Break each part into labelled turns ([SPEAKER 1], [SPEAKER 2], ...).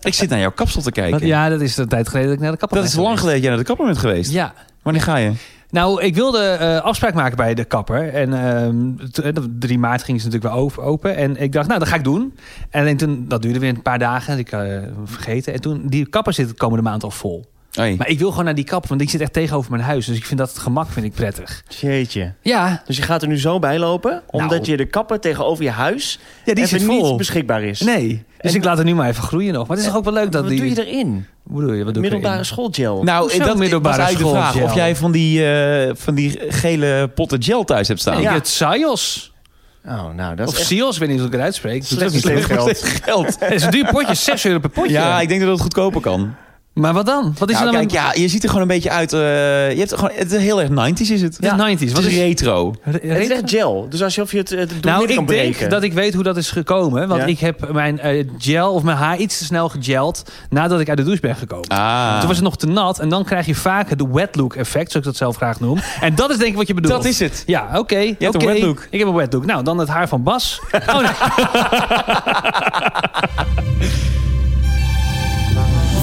[SPEAKER 1] Ik zit naar jouw kapsel te kijken.
[SPEAKER 2] Want ja, dat is een tijd geleden dat ik naar de kapper
[SPEAKER 1] dat is
[SPEAKER 2] ben
[SPEAKER 1] lang geleden dat jij naar de kapper bent geweest.
[SPEAKER 2] Ja.
[SPEAKER 1] Wanneer ga je?
[SPEAKER 2] Nou, ik wilde eh, afspraak maken bij de kapper. En ehm, t- eh, 3 maart ging ze natuurlijk weer over- open. En ik dacht, nou, dat ga ik doen. En alleen toen, dat duurde weer een paar dagen. En ik eh, vergeten. En toen, die kapper zit de komende maand al vol.
[SPEAKER 1] Oei.
[SPEAKER 2] Maar ik wil gewoon naar die kapper, want ik zit echt tegenover mijn huis. Dus ik vind dat het gemak vind ik prettig.
[SPEAKER 3] Jeetje.
[SPEAKER 2] Ja,
[SPEAKER 3] Dus je gaat er nu zo bij lopen, omdat
[SPEAKER 2] Nou.
[SPEAKER 3] je de kapper tegenover je huis
[SPEAKER 2] ja die
[SPEAKER 3] even
[SPEAKER 2] zit vol.
[SPEAKER 3] niet beschikbaar is.
[SPEAKER 2] Nee. Dus
[SPEAKER 3] En-
[SPEAKER 2] ik laat het nu maar even groeien nog. Maar het is toch ook wel leuk dat
[SPEAKER 3] Wat
[SPEAKER 2] die...
[SPEAKER 3] doe je erin?
[SPEAKER 2] Hoe bedoel je? Wat doe ik erin?
[SPEAKER 3] Middelbare schoolgel.
[SPEAKER 1] Nou,
[SPEAKER 2] Hoezo
[SPEAKER 1] dat
[SPEAKER 2] middelbare
[SPEAKER 1] was eigenlijk de
[SPEAKER 2] school
[SPEAKER 1] vraag.
[SPEAKER 2] gel?
[SPEAKER 1] Of jij van die, eh, van die gele potten gel thuis hebt staan.
[SPEAKER 2] Nee,
[SPEAKER 3] Ja.
[SPEAKER 2] Ik het Sios.
[SPEAKER 3] oh, nou, dat is
[SPEAKER 2] Of
[SPEAKER 3] echt
[SPEAKER 2] Sios, ik weet niet hoe ik het uitspreek. Dat
[SPEAKER 3] Slecht
[SPEAKER 2] is ook niet
[SPEAKER 3] slim
[SPEAKER 2] leuk.
[SPEAKER 3] geld.
[SPEAKER 1] geld.
[SPEAKER 2] Het is een duur potje, 6 euro per potje.
[SPEAKER 1] Ja, ik denk dat het goedkoper kan.
[SPEAKER 2] Maar wat dan? Wat is
[SPEAKER 1] Nou,
[SPEAKER 2] er Dus dan
[SPEAKER 1] kijk, ja, je ziet er gewoon een beetje uit. eh, je hebt gewoon, het is heel erg 90s is het.
[SPEAKER 2] Ja. dus- Het is 90s. Wat
[SPEAKER 1] Het is
[SPEAKER 2] is
[SPEAKER 1] retro.
[SPEAKER 2] Re-
[SPEAKER 3] Het is
[SPEAKER 2] retro?
[SPEAKER 3] echt gel. Dus alsof je het, eh, door
[SPEAKER 2] Nou,
[SPEAKER 3] midden
[SPEAKER 2] ik
[SPEAKER 3] kan
[SPEAKER 2] denk
[SPEAKER 3] breken.
[SPEAKER 2] dat ik weet hoe dat is gekomen. Want
[SPEAKER 3] Ja.
[SPEAKER 2] ik heb mijn eh, gel of mijn haar iets te snel gegeld nadat ik uit de douche ben gekomen.
[SPEAKER 1] Ah.
[SPEAKER 2] Toen was het nog te nat en dan krijg je vaak de wet look effect, zoals ik dat zelf graag noem. En dat is denk ik wat je bedoelt.
[SPEAKER 1] dat is het.
[SPEAKER 2] Ja, oké.
[SPEAKER 1] hebt een
[SPEAKER 2] oké.
[SPEAKER 1] wet look.
[SPEAKER 2] Ik heb een wet look. Nou, dan het haar van Bas. Oh, nee.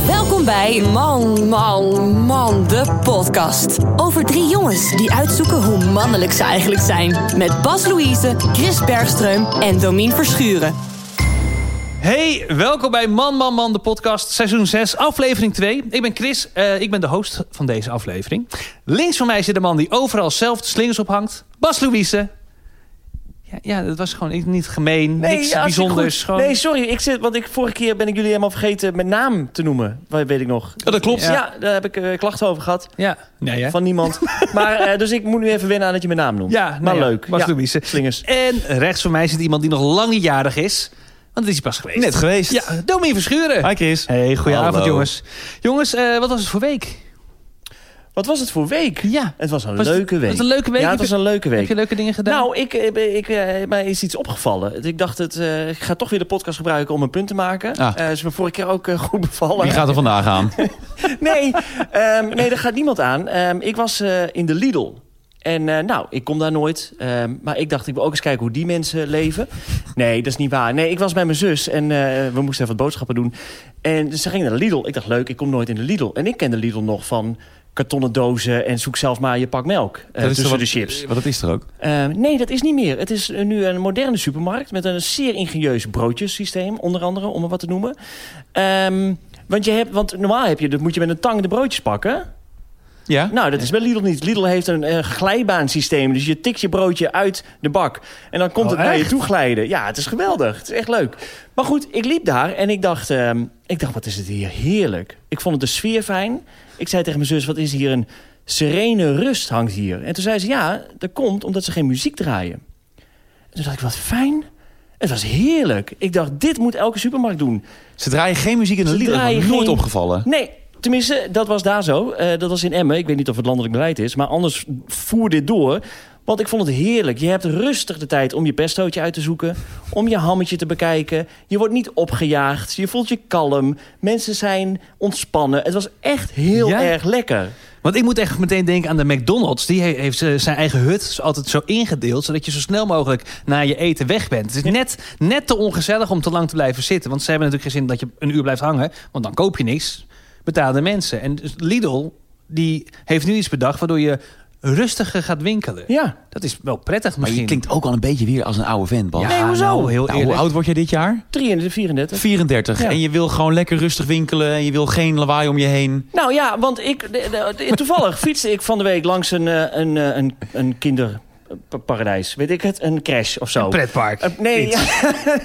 [SPEAKER 4] Welkom bij Man, Man, Man, de podcast. Over drie jongens die uitzoeken hoe mannelijk ze eigenlijk zijn. Met Bas Louise, Chris Bergström en Domien Verschuren.
[SPEAKER 2] Hey, welkom bij Man, Man, Man, de podcast, seizoen 6, aflevering 2. Ik ben Chris, eh, ik ben de host van deze aflevering. Links van mij zit de man die overal zelf de slingers ophangt, Bas Louise. Ja, ja dat was gewoon niet gemeen, niks
[SPEAKER 3] ja, hartstikke
[SPEAKER 2] bijzonders.
[SPEAKER 3] goed.
[SPEAKER 2] Gewoon...
[SPEAKER 3] Nee, sorry. Ik zit, want ik, vorige keer ben ik jullie helemaal vergeten mijn naam te noemen. Wat weet ik nog.
[SPEAKER 2] Oh,
[SPEAKER 1] Ja, dat klopt.
[SPEAKER 3] Ja, daar heb ik eh, klachten over gehad.
[SPEAKER 2] ja. Nee, hè?
[SPEAKER 3] Van niemand. maar, eh, dus ik moet nu even wennen aan dat je mijn naam noemt.
[SPEAKER 2] ja,
[SPEAKER 3] maar
[SPEAKER 2] nou ja,
[SPEAKER 3] leuk.
[SPEAKER 2] Bas
[SPEAKER 3] Ja,
[SPEAKER 2] Louise.
[SPEAKER 3] Slingers.
[SPEAKER 2] En rechts van mij zit iemand die nog lang niet jarig is, want het is hij pas geweest.
[SPEAKER 1] Net geweest.
[SPEAKER 2] Ja, Domien Verschuren.
[SPEAKER 1] Hi Chris.
[SPEAKER 2] Hey, goedenavond
[SPEAKER 1] Hallo.
[SPEAKER 2] jongens. Jongens, eh, wat was het voor week?
[SPEAKER 3] Wat was het voor week?
[SPEAKER 2] Ja,
[SPEAKER 3] Het was een
[SPEAKER 2] Was het-
[SPEAKER 3] leuke
[SPEAKER 2] was
[SPEAKER 3] week.
[SPEAKER 2] het een leuke week?
[SPEAKER 3] Ja, het was een leuke
[SPEAKER 2] heb
[SPEAKER 3] week.
[SPEAKER 2] je leuke dingen gedaan?
[SPEAKER 3] Nou, ik, eh, ik, eh, mij is iets opgevallen. Ik dacht, het, eh, ik ga toch weer de podcast gebruiken om een punt te maken.
[SPEAKER 1] Ah.
[SPEAKER 3] Eh is me vorige keer ook eh, goed bevallen.
[SPEAKER 1] Wie gaat er vandaag aan?
[SPEAKER 3] Nee, ehm, nee, daar gaat niemand aan. Ehm, ik was eh, in de Lidl. En eh, nou, ik kom daar nooit. Ehm, maar ik dacht, ik wil ook eens kijken hoe die mensen leven. Nee, dat is niet waar. Nee, ik was bij mijn zus en eh, we moesten even wat boodschappen doen. En dus ze ging naar de Lidl. Ik dacht, leuk, ik kom nooit in de Lidl. En ik ken de Lidl nog van kartonnen dozen en zoek zelf maar je pak melk eh,
[SPEAKER 1] Dat is
[SPEAKER 3] tussen
[SPEAKER 1] toch
[SPEAKER 3] de
[SPEAKER 1] wat-
[SPEAKER 3] chips.
[SPEAKER 1] Want dat is er ook.
[SPEAKER 3] Eh, nee, dat is niet meer. Het is eh, nu een moderne supermarkt met een zeer ingenieus broodjesysteem, onder andere, om maar wat te noemen. Ehm, want, je hebt, want normaal heb je, dat moet je met een tang de broodjes pakken.
[SPEAKER 1] Ja?
[SPEAKER 3] Nou, dat is bij Lidl niet. Lidl heeft een eh, glijbaansysteem. Dus je tikt je broodje uit de bak. En dan
[SPEAKER 2] Oh,
[SPEAKER 3] komt het naar je
[SPEAKER 2] echt?
[SPEAKER 3] toe glijden. Ja, het is geweldig. Het is echt leuk. Maar goed, ik liep daar en ik dacht, ehm, ik dacht, wat is het hier heerlijk. Ik vond het de sfeer fijn. Ik zei tegen mijn zus, wat is hier een serene rust hangt hier. En toen zei ze, ja, dat komt omdat ze geen muziek draaien. En toen dacht ik, wat fijn. Het was heerlijk. Ik dacht, dit moet elke supermarkt doen.
[SPEAKER 1] Ze draaien geen muziek in de
[SPEAKER 3] Ze
[SPEAKER 1] lied. Dat is
[SPEAKER 3] draaien
[SPEAKER 1] me nooit
[SPEAKER 3] geen-
[SPEAKER 1] opgevallen.
[SPEAKER 3] Nee, tenminste, dat was daar zo. Eh, dat was in Emmen. Ik weet niet of het landelijk beleid is. Maar anders voer dit door. Want ik vond het heerlijk. Je hebt rustig de tijd om je pestootje uit te zoeken. Om je hammetje te bekijken. Je wordt niet opgejaagd. Je voelt je kalm. Mensen zijn ontspannen. Het was echt heel
[SPEAKER 2] Ja?
[SPEAKER 3] erg lekker.
[SPEAKER 2] Want ik moet echt meteen denken aan de McDonald's. Die he- heeft eh, zijn eigen hut zo- altijd zo ingedeeld... zodat je zo snel mogelijk na je eten weg bent. Het is net, net te ongezellig om te lang te blijven zitten. Want ze hebben natuurlijk geen zin dat je een uur blijft hangen. Want dan koop je niks. Betaalde mensen. En dus Lidl die heeft nu iets bedacht... waardoor je rustiger gaat winkelen.
[SPEAKER 3] Ja.
[SPEAKER 2] Dat is wel prettig
[SPEAKER 1] Maar
[SPEAKER 2] misschien.
[SPEAKER 1] je klinkt ook al een beetje weer als een oude vent, Bas.
[SPEAKER 2] ja,
[SPEAKER 3] Nee, hoezo?
[SPEAKER 2] nou, heel
[SPEAKER 1] Nou, hoe
[SPEAKER 2] eerlijk.
[SPEAKER 1] oud word jij dit jaar?
[SPEAKER 3] 33, 34.
[SPEAKER 1] 34.
[SPEAKER 3] Ja.
[SPEAKER 1] En je wil gewoon lekker rustig winkelen. En je wil geen lawaai om je heen.
[SPEAKER 3] Nou ja, want ik, de- de- de- toevallig fietste ik van de week langs een, eh, een, eh, een, een kinderparadijs. Weet ik het? Een crash
[SPEAKER 1] nou
[SPEAKER 3] of zo.
[SPEAKER 2] Een pretpark.
[SPEAKER 3] Eh, nee, ja,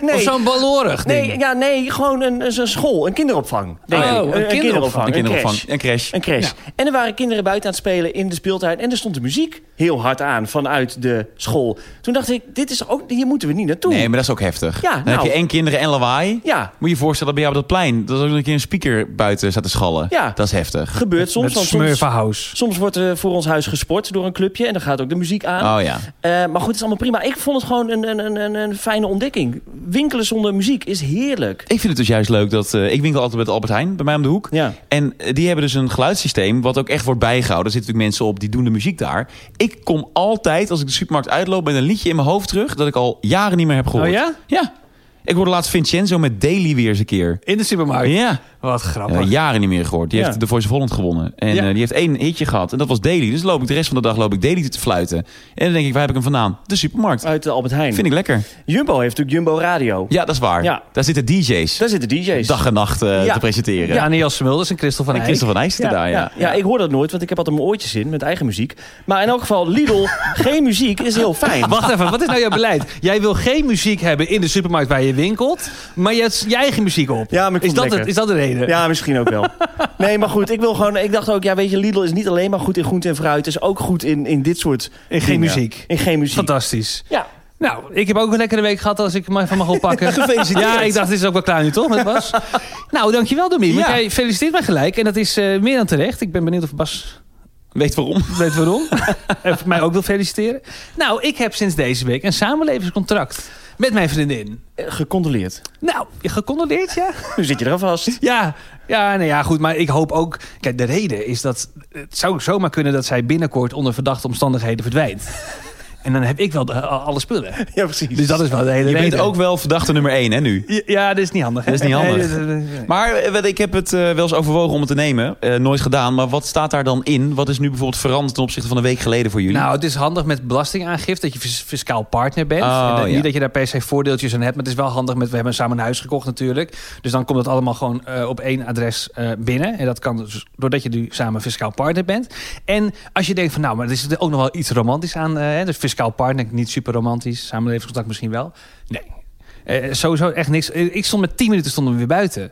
[SPEAKER 3] nee.
[SPEAKER 2] Of zo'n ballorig ding.
[SPEAKER 3] Nee, ja, nee, gewoon een, een zo'n school, een kinderopvang. denk
[SPEAKER 2] Oh,
[SPEAKER 3] ik.
[SPEAKER 2] een kinderopvang,
[SPEAKER 1] Een kinderopvang.
[SPEAKER 3] crash.
[SPEAKER 1] Een crash.
[SPEAKER 3] Een crash. En er waren kinderen buiten aan het spelen in de speeltuin. En er stond de muziek heel hard aan vanuit de school. Toen dacht ik, dit is ook, hier moeten we niet naartoe.
[SPEAKER 1] Nee, maar dat is ook heftig.
[SPEAKER 3] Ja,
[SPEAKER 1] Dan
[SPEAKER 3] nou.
[SPEAKER 1] heb je en kinderen en lawaai.
[SPEAKER 3] Ja,
[SPEAKER 1] Moet je je voorstellen bij jou op dat plein. Dat er ook nog een keer een speaker buiten staat te schallen.
[SPEAKER 3] Ja.
[SPEAKER 1] Dat is heftig.
[SPEAKER 3] gebeurt soms.
[SPEAKER 2] Met
[SPEAKER 3] want soms,
[SPEAKER 2] Smurfenhouse.
[SPEAKER 3] soms wordt er voor ons huis gesport door een clubje. En dan gaat ook de muziek aan.
[SPEAKER 1] Oh ja.
[SPEAKER 3] Eh, maar goed, het is allemaal prima. Ik vond het gewoon een, een, een- een, een fijne ontdekking. Winkelen zonder muziek is heerlijk.
[SPEAKER 1] Ik vind het dus juist leuk dat... eh, ik winkel altijd met Albert Heijn, bij mij om de hoek.
[SPEAKER 3] Ja.
[SPEAKER 1] En eh, die hebben dus een geluidssysteem wat ook echt wordt bijgehouden. Er zitten natuurlijk mensen op die doen de muziek daar. Ik kom altijd, als ik de supermarkt uitloop, met een liedje in mijn hoofd terug... dat ik al jaren niet meer heb gehoord.
[SPEAKER 2] Oh ja?
[SPEAKER 1] Ja. Ik hoorde laatst Vincenzo met Daily weer eens een keer.
[SPEAKER 2] In de supermarkt.
[SPEAKER 1] Ja,
[SPEAKER 2] Wat
[SPEAKER 1] Ja,
[SPEAKER 2] grappig.
[SPEAKER 1] jaren niet meer gehoord. Die
[SPEAKER 3] Ja.
[SPEAKER 1] heeft de Voice of Holland gewonnen. En
[SPEAKER 2] Ja.
[SPEAKER 1] eh, die heeft één hitje gehad. En dat was Daily. Dus loop ik de rest van de dag loop ik Daily te fluiten. En dan denk ik, waar heb ik hem vandaan? De supermarkt.
[SPEAKER 3] Uit de Albert Heijn.
[SPEAKER 1] Vind ik lekker.
[SPEAKER 3] Jumbo heeft natuurlijk Jumbo Radio.
[SPEAKER 1] Ja, dat is waar.
[SPEAKER 3] Ja.
[SPEAKER 1] Daar zitten DJ's
[SPEAKER 3] Daar zitten DJ's.
[SPEAKER 1] dag en nacht eh,
[SPEAKER 3] Ja.
[SPEAKER 1] te presenteren.
[SPEAKER 2] Ja, Daniel Smulders en Christel van
[SPEAKER 1] En
[SPEAKER 2] Eyck.
[SPEAKER 1] Christel van IJs daar, ja.
[SPEAKER 3] ja, ik hoor dat nooit, want ik heb altijd mijn oortjes in met eigen muziek. Maar in elk geval, Lidl, geen muziek is heel fijn.
[SPEAKER 2] Wacht even, wat is nou jouw beleid? Jij wil geen muziek hebben in de supermarkt waar je winkelt, maar je hebt je eigen muziek op.
[SPEAKER 3] Ja, maar ik
[SPEAKER 2] is,
[SPEAKER 3] vond het
[SPEAKER 2] dat
[SPEAKER 3] lekker.
[SPEAKER 2] het, is dat de reden?
[SPEAKER 3] Ja, misschien ook wel. Nee, maar goed, ik wil gewoon. Ik dacht ook, ja, weet je, Lidl is niet alleen maar goed in groente en fruit. Het is ook goed in, in dit soort.
[SPEAKER 2] In geen
[SPEAKER 3] dingen.
[SPEAKER 2] muziek.
[SPEAKER 3] In geen muziek.
[SPEAKER 2] Fantastisch.
[SPEAKER 3] Ja.
[SPEAKER 2] Nou, ik heb ook een lekkere week gehad als ik me van mag oppakken.
[SPEAKER 1] Gefeliciteerd.
[SPEAKER 2] Ja, ik dacht, dit is ook wel klaar nu, toch? Met Bas? nou, dankjewel Domien. Want
[SPEAKER 1] Ja.
[SPEAKER 2] Jij feliciteert mij gelijk en dat is eh, meer dan terecht. Ik ben benieuwd of Bas
[SPEAKER 1] Weet waarom?
[SPEAKER 2] weet waarom. en mij ook wil feliciteren. Nou, ik heb sinds deze week een samenlevingscontract met mijn vriendin.
[SPEAKER 3] Eh, Gecondoleerd.
[SPEAKER 2] Nou, gecondoleerd, ja?
[SPEAKER 3] Nu zit je eraan vast.
[SPEAKER 2] Ja, ja, nee, ja, goed. Maar ik hoop ook... Kijk, de reden is dat... Het zou zomaar kunnen dat zij binnenkort onder verdachte omstandigheden verdwijnt. en dan heb ik wel de- al- alle spullen.
[SPEAKER 3] Ja, precies.
[SPEAKER 2] Dus dat is wel de hele
[SPEAKER 1] Je
[SPEAKER 2] reden.
[SPEAKER 1] bent ook wel verdachte nummer één, hè, nu?
[SPEAKER 2] Ja, Ja, dat is niet handig. hè?
[SPEAKER 1] Dat is niet handig.
[SPEAKER 2] Nee, dat- dat- dat-
[SPEAKER 1] Maar eh, wel, ik heb het eh, wel eens overwogen om het te nemen. Eh, nooit gedaan. Maar wat staat daar dan in? Wat is nu bijvoorbeeld veranderd ten opzichte van een week geleden voor jullie?
[SPEAKER 2] Nou, het is handig met belastingaangifte dat je fis- fiscaal partner bent.
[SPEAKER 1] Oh,
[SPEAKER 2] En dat-
[SPEAKER 1] ja.
[SPEAKER 2] Niet dat je daar per se voordeeltjes aan hebt, maar het is wel handig met... We hebben samen een huis gekocht natuurlijk. Dus dan komt het allemaal gewoon eh, op één adres eh, binnen. En dat kan dus doordat je nu samen fiscaal partner bent. En als je denkt van nou, maar er is er ook nog wel iets romantisch aan. eh, hè? dus fiscaal partner, niet super romantisch. Samenlevingscontact misschien wel. Nee, Eh, sowieso echt niks. Eh, ik stond met 10 minuten stonden we weer buiten.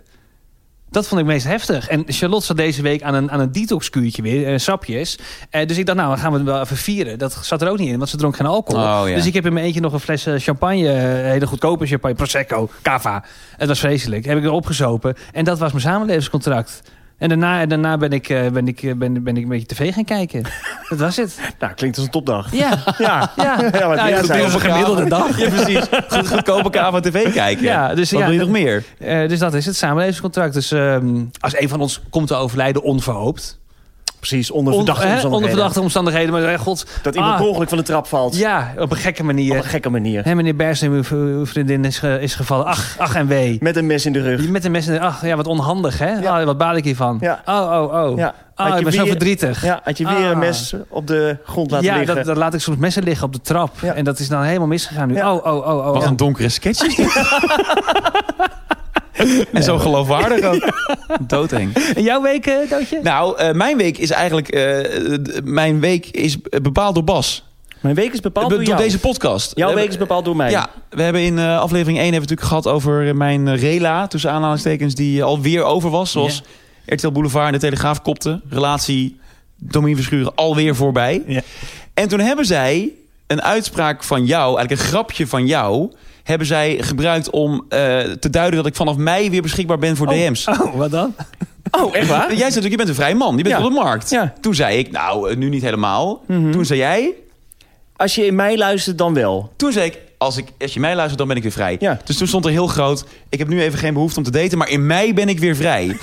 [SPEAKER 2] Dat vond ik meest heftig. En Charlotte zat deze week aan een, aan een detoxkuurtje weer, eh, sapjes. Eh, dus ik dacht, nou, dan gaan we het wel even vieren. Dat zat er ook niet in, want ze dronk geen alcohol.
[SPEAKER 1] Oh, ja.
[SPEAKER 2] Dus ik heb in mijn eentje nog een fles eh, champagne, eh, hele goedkope champagne, Prosecco, Cava. Het was vreselijk. Heb ik erop gezopen. En dat was mijn samenlevingscontract. En daarna, en daarna ben, ik, eh, ben, ik, eh, ben, ben ik een beetje tv gaan kijken. Dat was het.
[SPEAKER 3] Nou, klinkt als een topdag.
[SPEAKER 2] Ja.
[SPEAKER 3] Ja.
[SPEAKER 2] Ja,
[SPEAKER 3] Ja, wat
[SPEAKER 2] Nou,
[SPEAKER 3] jij
[SPEAKER 2] goed,
[SPEAKER 3] zei.
[SPEAKER 2] op een gemiddelde dag.
[SPEAKER 1] Ja, precies. Goed, goedkope KVA TV kijken.
[SPEAKER 2] Ja, dus
[SPEAKER 1] wat
[SPEAKER 2] ja,
[SPEAKER 1] wil je
[SPEAKER 2] dat-
[SPEAKER 1] nog meer?
[SPEAKER 2] Eh, dus dat is het samenlevingscontract. Dus ehm, als een van ons komt te overlijden, onverhoopt.
[SPEAKER 3] Precies, onder
[SPEAKER 2] On-
[SPEAKER 3] verdachte
[SPEAKER 2] hè, onder
[SPEAKER 3] omstandigheden.
[SPEAKER 2] verdachte omstandigheden. Maar eh, god.
[SPEAKER 3] Dat iemand
[SPEAKER 2] ah,
[SPEAKER 3] per ongeluk van de trap valt.
[SPEAKER 2] Ja, op een gekke manier.
[SPEAKER 3] Op een gekke manier.
[SPEAKER 2] Hè, meneer Bers en uw, uw vriendin is, ge- is gevallen. Ach, ach en wee.
[SPEAKER 3] Met een mes in de rug.
[SPEAKER 2] Met een mes in de... Ach, ja, wat onhandig, hè?
[SPEAKER 3] Ja.
[SPEAKER 2] Ah, wat baal ik hiervan?
[SPEAKER 3] Ja.
[SPEAKER 2] Oh, oh, oh.
[SPEAKER 3] Ja.
[SPEAKER 2] Ah,
[SPEAKER 3] Had
[SPEAKER 2] ik
[SPEAKER 3] je
[SPEAKER 2] ben zo
[SPEAKER 3] weer-
[SPEAKER 2] verdrietig.
[SPEAKER 3] Ja, had je weer
[SPEAKER 2] Ah.
[SPEAKER 3] een mes op de grond laten
[SPEAKER 2] Ja,
[SPEAKER 3] liggen.
[SPEAKER 2] dat, dat laat ik soms messen liggen op de trap.
[SPEAKER 3] Ja.
[SPEAKER 2] En dat is dan helemaal misgegaan nu.
[SPEAKER 3] Ja.
[SPEAKER 2] Oh, oh, oh, oh.
[SPEAKER 1] Wat
[SPEAKER 2] oh.
[SPEAKER 1] een donkere sketch is dit. En zo geloofwaardig ook. Doodeng.
[SPEAKER 2] En jouw week, eh, Doodje?
[SPEAKER 1] Nou, eh, mijn week is eigenlijk... eh, d- mijn week is bepaald door Bas.
[SPEAKER 3] Mijn week is bepaald
[SPEAKER 1] Be-
[SPEAKER 3] door,
[SPEAKER 1] door
[SPEAKER 3] jou.
[SPEAKER 1] deze podcast.
[SPEAKER 3] Jouw
[SPEAKER 1] We
[SPEAKER 3] week is bepaald door mij.
[SPEAKER 1] Ja, we hebben in eh, aflevering 1 hebben we natuurlijk gehad over mijn eh, rela, tussen aanhalingstekens, die eh, alweer over was. Zoals RTL Boulevard en de Telegraaf kopte. Relatie Domien Verschuren alweer voorbij.
[SPEAKER 2] Ja.
[SPEAKER 1] En toen hebben zij een uitspraak van jou, eigenlijk een grapje van jou, hebben zij gebruikt om eh, te duiden dat ik vanaf mei weer beschikbaar ben voor DM's.
[SPEAKER 2] Oh, wat dan?
[SPEAKER 3] Oh, echt waar?
[SPEAKER 1] Jij zei natuurlijk, je bent een vrij man, je bent
[SPEAKER 3] Ja.
[SPEAKER 1] op de markt.
[SPEAKER 3] Ja. Mhm.
[SPEAKER 1] Toen zei ik, nou, eh, nu niet helemaal. Toen zei jij,
[SPEAKER 3] Als je in mij luistert, dan wel.
[SPEAKER 1] toen zei ik als, ik, als je mij luistert, dan ben ik weer vrij.
[SPEAKER 3] Ja.
[SPEAKER 1] Dus toen stond er heel groot, ik heb nu even geen behoefte om te daten, maar in mei ben ik weer vrij.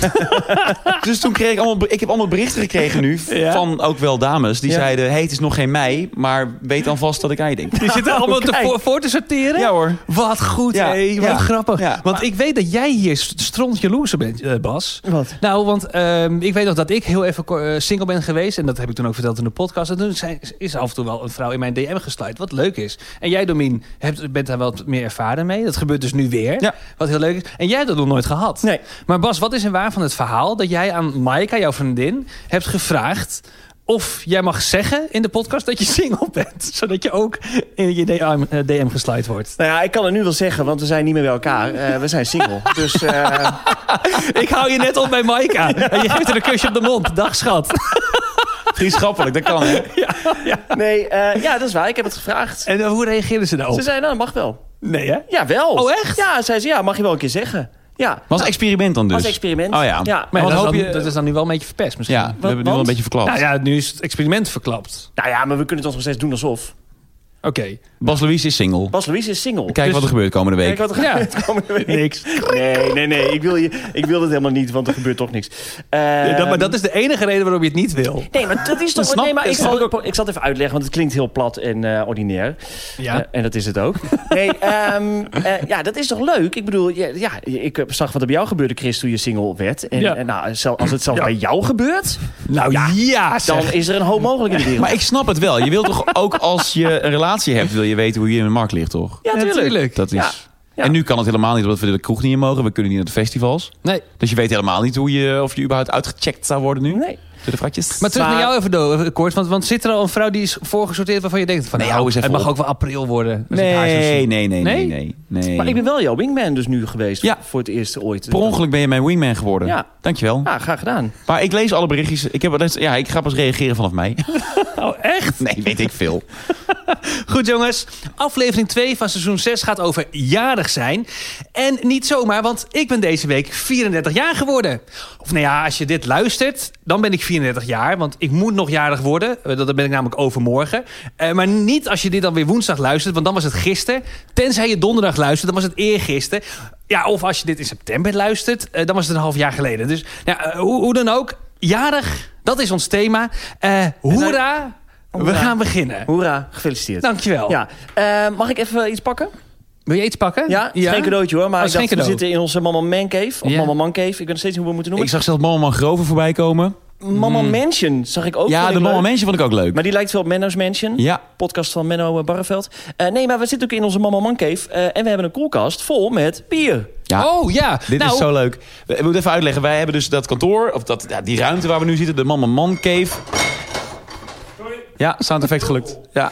[SPEAKER 1] dus toen kreeg ik allemaal, ik heb allemaal berichten gekregen nu
[SPEAKER 2] Ja.
[SPEAKER 1] van ook wel dames. Die
[SPEAKER 3] Ja.
[SPEAKER 1] zeiden, hey, het is nog geen mei, maar weet dan vast dat ik aan je denk.
[SPEAKER 2] Je zit er allemaal te
[SPEAKER 3] kijk.
[SPEAKER 2] voor, voor te sorteren?
[SPEAKER 1] Ja hoor.
[SPEAKER 2] Wat goed,
[SPEAKER 1] Ja,
[SPEAKER 2] hé. Wat
[SPEAKER 1] ja,
[SPEAKER 2] grappig.
[SPEAKER 1] ja.
[SPEAKER 2] Want ik weet dat jij hier st- stront jaloers op bent, eh, Bas.
[SPEAKER 3] Wat?
[SPEAKER 2] Nou, want ehm, ik weet nog dat ik heel even ko- eh, single ben geweest. En dat heb ik toen ook verteld in de podcast. En toen zei- is af en toe wel een vrouw in mijn DM gesluit. Wat leuk is. En jij, Domien, hebt, bent daar wel wat meer ervaren mee. Dat gebeurt dus nu weer.
[SPEAKER 1] Ja.
[SPEAKER 2] Wat heel leuk is. En jij hebt dat nog nooit gehad.
[SPEAKER 3] Nee.
[SPEAKER 2] Maar Bas, wat is er waar van het verhaal dat jij aan Maika, jouw vriendin, hebt gevraagd of jij mag zeggen in de podcast dat je single bent, zodat je ook in je DM, eh, DM gesluit wordt?
[SPEAKER 3] Nou ja, ik kan het nu wel zeggen, want we zijn niet meer bij elkaar. Eh, we zijn single. dus eh,
[SPEAKER 2] Ik hou je net op bij Maika en je geeft er een kusje op de mond. Dag schat.
[SPEAKER 1] Vriendschappelijk, dat kan. Hè?
[SPEAKER 3] nee, eh, ja, dat is waar. Ik heb het gevraagd.
[SPEAKER 2] En eh, hoe reageerden ze
[SPEAKER 3] Ze
[SPEAKER 2] daarop?
[SPEAKER 3] zei, nou, mag wel.
[SPEAKER 2] Nee hè?
[SPEAKER 3] Ja, wel.
[SPEAKER 2] Oh, echt?
[SPEAKER 3] Ja, zei ze, ja, mag je wel een keer zeggen. Ja,
[SPEAKER 1] Was experiment dan dus.
[SPEAKER 3] als experiment.
[SPEAKER 1] Oh ja.
[SPEAKER 3] ja.
[SPEAKER 2] Maar
[SPEAKER 1] Wat
[SPEAKER 2] dat, is
[SPEAKER 1] hoop
[SPEAKER 2] dan,
[SPEAKER 1] je-
[SPEAKER 2] dat is dan nu wel een beetje verpest misschien.
[SPEAKER 1] Ja, we hebben het nu wel
[SPEAKER 3] want?
[SPEAKER 1] een beetje verklapt.
[SPEAKER 2] Nou ja, nu is het experiment verklapt.
[SPEAKER 3] Nou ja, maar we kunnen het toch nog steeds doen alsof.
[SPEAKER 2] Oké.
[SPEAKER 1] Bas Louise is single.
[SPEAKER 3] Bas Louise is single.
[SPEAKER 1] Kijk
[SPEAKER 2] Dus-
[SPEAKER 1] wat er gebeurt komende week.
[SPEAKER 3] Kijk wat er
[SPEAKER 2] Ja.
[SPEAKER 3] gaat komende week.
[SPEAKER 1] Niks.
[SPEAKER 3] Nee, nee, nee. Ik wil, je, ik wil dat helemaal niet, want er gebeurt toch niks.
[SPEAKER 2] Ja, dat- maar
[SPEAKER 3] Ehm,
[SPEAKER 2] dat is de enige reden waarom je het niet wil.
[SPEAKER 3] Nee, maar dat is toch...
[SPEAKER 1] snap-
[SPEAKER 3] nee, maar
[SPEAKER 1] dat
[SPEAKER 3] ik,
[SPEAKER 1] snap
[SPEAKER 3] zal, ik zal het even uitleggen, want het klinkt heel plat en eh, ordinair. Eh, en dat is het ook. Nee, ehm, eh, ja, dat is toch leuk? Ik bedoel, ja, ja, ik eh, zag wat er bij jou gebeurde, Chris, toen je single werd. En,
[SPEAKER 2] Ja.
[SPEAKER 3] en nou, zel- als het zelfs
[SPEAKER 2] Ja.
[SPEAKER 3] bij jou gebeurt,
[SPEAKER 2] nou ja, zeg.
[SPEAKER 3] dan is er een hoop mogelijk in de wereld.
[SPEAKER 1] Ah, Maar ik snap het wel. Je wilt toch ook als je een relatie hebt, wil je weten hoe je in de markt ligt, toch?
[SPEAKER 3] Ja, tuurlijk.
[SPEAKER 1] Dat is...
[SPEAKER 3] Ja, ja.
[SPEAKER 1] En nu kan het helemaal niet, omdat we de kroeg niet in mogen. We kunnen niet naar de festivals.
[SPEAKER 2] Nee.
[SPEAKER 1] Dus je weet helemaal niet hoe je, of je überhaupt uitgecheckt zou worden nu.
[SPEAKER 3] Nee.
[SPEAKER 1] Door de vratjes.
[SPEAKER 2] Maar terug
[SPEAKER 3] Maar-
[SPEAKER 2] naar jou even, Do, even kort. Want, want zit er al een vrouw die is voorgesorteerd waarvan je denkt... Van,
[SPEAKER 1] Nee,
[SPEAKER 2] nou,
[SPEAKER 1] hou eens even
[SPEAKER 2] het mag
[SPEAKER 1] op.
[SPEAKER 2] ook wel april worden. als ik haar zo
[SPEAKER 1] nee,
[SPEAKER 2] zie.
[SPEAKER 1] nee, nee, nee,
[SPEAKER 2] Nee?
[SPEAKER 1] nee, nee, nee.
[SPEAKER 3] Maar ik ben wel jouw wingman dus nu geweest.
[SPEAKER 1] Ja.
[SPEAKER 3] Voor het eerst ooit.
[SPEAKER 1] Per ongeluk ben je mijn wingman geworden.
[SPEAKER 3] Ja.
[SPEAKER 1] Dankjewel.
[SPEAKER 3] Ja, graag gedaan.
[SPEAKER 1] Maar ik lees alle berichtjes. Ik, heb, wel eens- ja, ik ga pas reageren vanaf mij.
[SPEAKER 2] Oh, echt?
[SPEAKER 1] Nee, weet ik veel.
[SPEAKER 2] Goed jongens, aflevering 2 van seizoen 6 gaat over jarig zijn. En niet zomaar, want ik ben deze week 34 jaar geworden. Of nou ja, als je dit luistert, dan ben ik 34 jaar. Want ik moet nog jarig worden. Eh, Dat ben ik namelijk overmorgen. Eh, maar niet als je dit dan weer woensdag luistert, want dan was het gisteren. Tenzij je donderdag luistert, dan was het eergisteren. Ja, of als je dit in september luistert, eh, dan was het een half jaar geleden. Dus nou, eh, hoe, hoe dan ook, jarig, dat is ons thema. Eh hoera, we
[SPEAKER 3] Hoera.
[SPEAKER 2] gaan beginnen.
[SPEAKER 3] Hoera, gefeliciteerd.
[SPEAKER 2] Dankjewel.
[SPEAKER 3] Ja, eh, mag ik even iets pakken?
[SPEAKER 2] Wil je iets pakken?
[SPEAKER 3] Ja, het is geen cadeautje hoor, maar
[SPEAKER 2] Oh,
[SPEAKER 3] ik
[SPEAKER 2] het is
[SPEAKER 3] dacht,
[SPEAKER 2] geen
[SPEAKER 3] we
[SPEAKER 2] cadeau.
[SPEAKER 3] zitten in onze Mama Man Cave. Of
[SPEAKER 2] Ja.
[SPEAKER 3] Mama Man Cave, ik weet nog steeds niet hoe we moeten
[SPEAKER 1] Ik
[SPEAKER 3] noemen.
[SPEAKER 1] zag zelfs Mama Grover voorbij komen.
[SPEAKER 3] Mama Mansion zag ik ook.
[SPEAKER 1] ja,
[SPEAKER 3] vond
[SPEAKER 1] de
[SPEAKER 3] ik
[SPEAKER 1] Mama
[SPEAKER 3] leuk.
[SPEAKER 1] Mansion vond ik ook leuk.
[SPEAKER 3] Maar die lijkt veel op Menno's Mansion.
[SPEAKER 1] Ja.
[SPEAKER 3] Podcast van Menno eh, Barreveld. Eh, nee, maar we zitten ook in onze Mama Man Cave. eh, en we hebben een koelkast vol met bier.
[SPEAKER 1] ja.
[SPEAKER 2] Oh ja.
[SPEAKER 1] Dit
[SPEAKER 2] nou,
[SPEAKER 1] is zo leuk. We- Ik moet even uitleggen. Wij hebben dus dat kantoor, of dat, ja, die ruimte waar we nu zitten, de Mama Man Cave. Ja, sound effect gelukt. Ja.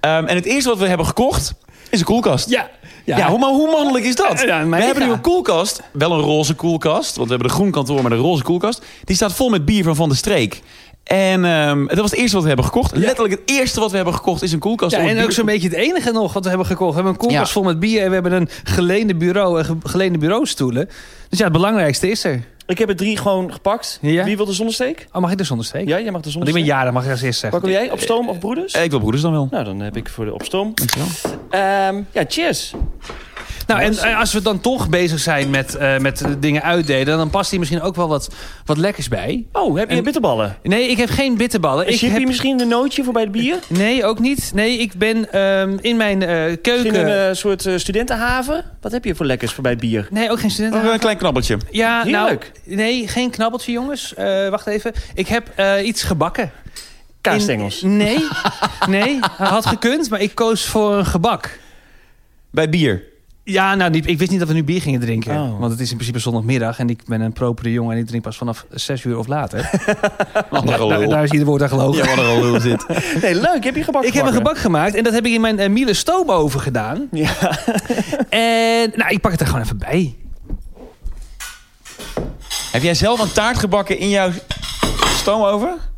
[SPEAKER 1] Ehm, en het eerste wat we hebben gekocht is een koelkast.
[SPEAKER 2] Ja.
[SPEAKER 1] Ja, hoe, maar hoe mannelijk is dat?
[SPEAKER 2] Ja, ja,
[SPEAKER 1] we
[SPEAKER 2] mega.
[SPEAKER 1] hebben nu een koelkast, wel een roze koelkast, want we hebben de groen kantoor met een roze koelkast. Die staat vol met bier van Van de Streek. En ehm, dat was het eerste wat we hebben gekocht. Letterlijk het eerste wat we hebben gekocht is een koelkast. Oh,
[SPEAKER 2] Ja,
[SPEAKER 1] om het
[SPEAKER 2] en ook
[SPEAKER 1] bier-
[SPEAKER 2] zo'n beetje het enige nog wat we hebben gekocht. We hebben een koelkast
[SPEAKER 1] Ja.
[SPEAKER 2] vol met bier en we hebben een geleende bureau en ge- geleende bureaustoelen. Dus ja, het belangrijkste is er.
[SPEAKER 3] Ik heb er drie gewoon gepakt.
[SPEAKER 2] Ja.
[SPEAKER 3] Wie wil de zonnesteek?
[SPEAKER 2] Oh, mag ik er zonder steek?
[SPEAKER 3] Ja, jij mag de
[SPEAKER 2] Want ik ben
[SPEAKER 3] zonnesteek.
[SPEAKER 2] jarig, mag ik als eerst
[SPEAKER 3] Waar
[SPEAKER 2] zeggen.
[SPEAKER 3] kom jij? Op stoom of broeders?
[SPEAKER 1] Eh, Ik wil broeders dan wel.
[SPEAKER 3] Nou, dan heb ik voor de op stoom.
[SPEAKER 1] Dankjewel.
[SPEAKER 3] Ehm, ja, cheers.
[SPEAKER 2] Nou, en eh, als we dan toch bezig zijn met, eh, met eh, dingen uitdelen... dan past hier misschien ook wel wat, wat lekkers bij.
[SPEAKER 3] Oh, heb je
[SPEAKER 2] En-
[SPEAKER 3] bitterballen?
[SPEAKER 2] Nee, ik heb geen bitterballen.
[SPEAKER 3] Is
[SPEAKER 2] Ik
[SPEAKER 3] je
[SPEAKER 2] heb...
[SPEAKER 3] misschien een nootje voor bij het bier?
[SPEAKER 2] Nee, ook niet. Nee, ik ben ehm, in mijn eh,
[SPEAKER 3] Misschien
[SPEAKER 2] keuken...
[SPEAKER 3] een eh, soort eh, studentenhaven? Wat heb je voor lekkers voor bij het bier?
[SPEAKER 2] Nee, ook geen studenten.
[SPEAKER 1] Een klein knabbeltje.
[SPEAKER 2] Ja,
[SPEAKER 3] Heerlijk.
[SPEAKER 2] nou, nee, geen knabbeltje, jongens. Eh, wacht even. Ik heb eh, iets gebakken.
[SPEAKER 3] Kaasstengels.
[SPEAKER 2] In- nee, nee. Had gekund, maar ik koos voor een gebak.
[SPEAKER 1] Bij bier.
[SPEAKER 2] Ja, nou, niet, ik wist niet dat we nu bier gingen drinken.
[SPEAKER 3] Oh.
[SPEAKER 2] Want het is in principe zondagmiddag en ik ben een propere jongen... en ik drink pas vanaf zes uur of later.
[SPEAKER 3] Oh.
[SPEAKER 1] Andere
[SPEAKER 2] daar,
[SPEAKER 1] lul.
[SPEAKER 2] daar is ieder woord aan gelogen.
[SPEAKER 1] Ja, wat een lul zit.
[SPEAKER 3] Nee, leuk. Heb je gebak
[SPEAKER 2] Ik heb een gebak gemaakt en dat heb ik in mijn eh, Miele stoomoven gedaan.
[SPEAKER 3] Ja.
[SPEAKER 2] En nou, ik pak het er gewoon even bij.
[SPEAKER 1] Heb jij zelf een taart gebakken in jouw stoomoven?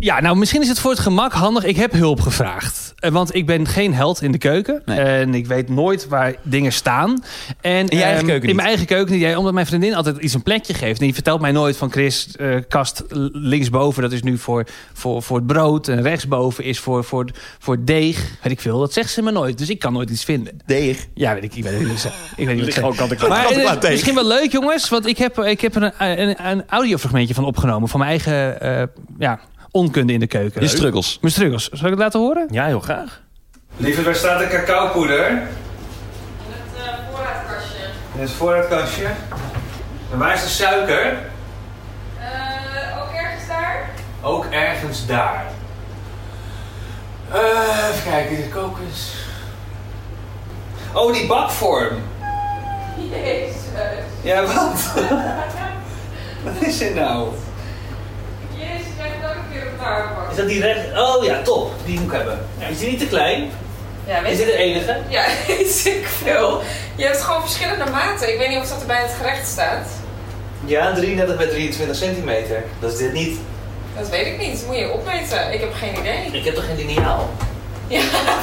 [SPEAKER 2] Ja, nou, misschien is het voor het gemak handig. Ik heb hulp gevraagd. Eh, Want ik ben geen held in de keuken.
[SPEAKER 1] Nee.
[SPEAKER 2] En ik weet nooit waar dingen staan. En,
[SPEAKER 1] je eigen
[SPEAKER 2] ehm,
[SPEAKER 1] keuken
[SPEAKER 2] In
[SPEAKER 1] niet?
[SPEAKER 2] mijn eigen keuken niet. Ja, Omdat mijn vriendin altijd iets een plekje geeft. En die vertelt mij nooit van Chris, eh, kast l- linksboven. Dat is nu voor, voor, voor het brood. En rechtsboven is voor, voor, voor het deeg. Weet ik veel. Dat zegt ze me nooit. Dus ik kan nooit iets vinden.
[SPEAKER 1] Deeg.
[SPEAKER 2] Ja, weet ik. Ik weet het niet. Ik weet niet wat ik zeg.
[SPEAKER 3] Gewoon kant en klaar.
[SPEAKER 2] Maar
[SPEAKER 1] Kant en
[SPEAKER 2] het is
[SPEAKER 1] klaar tegen.
[SPEAKER 2] misschien wel leuk, jongens. Want ik heb, ik heb er een, een, een audiofragmentje van opgenomen. Van mijn eigen eh, ja, onkunde in de keuken.
[SPEAKER 1] Die struggles.
[SPEAKER 2] Mijn struggles. Zal ik het laten horen?
[SPEAKER 3] Ja, heel graag.
[SPEAKER 5] Lieve, waar staat de cacaopoeder?
[SPEAKER 6] eh, voorraadkastje.
[SPEAKER 5] In het voorraadkastje. En waar is de suiker?
[SPEAKER 6] Eh, ook ergens daar?
[SPEAKER 5] Ook ergens daar. Eh, even kijken, de kokos. Oh, die bakvorm.
[SPEAKER 6] Jezus.
[SPEAKER 5] Ja, wat? wat is dit nou?
[SPEAKER 6] Jezus, jij hebt ook een keer op elkaar gepakt.
[SPEAKER 5] dat die recht? Oh ja, top. Die moet ik hebben. Is die niet te klein?
[SPEAKER 6] Ja, weet
[SPEAKER 5] de enige?
[SPEAKER 6] Ja, weet ik veel. Je hebt gewoon verschillende maten. Ik weet niet of dat er bij het gerecht staat.
[SPEAKER 5] Ja, 33 bij 23 centimeter. Dat is dit niet.
[SPEAKER 6] Dat weet ik niet. Moet je opmeten. Ik heb geen idee.
[SPEAKER 5] Ik heb toch geen lineaal?
[SPEAKER 6] Ja,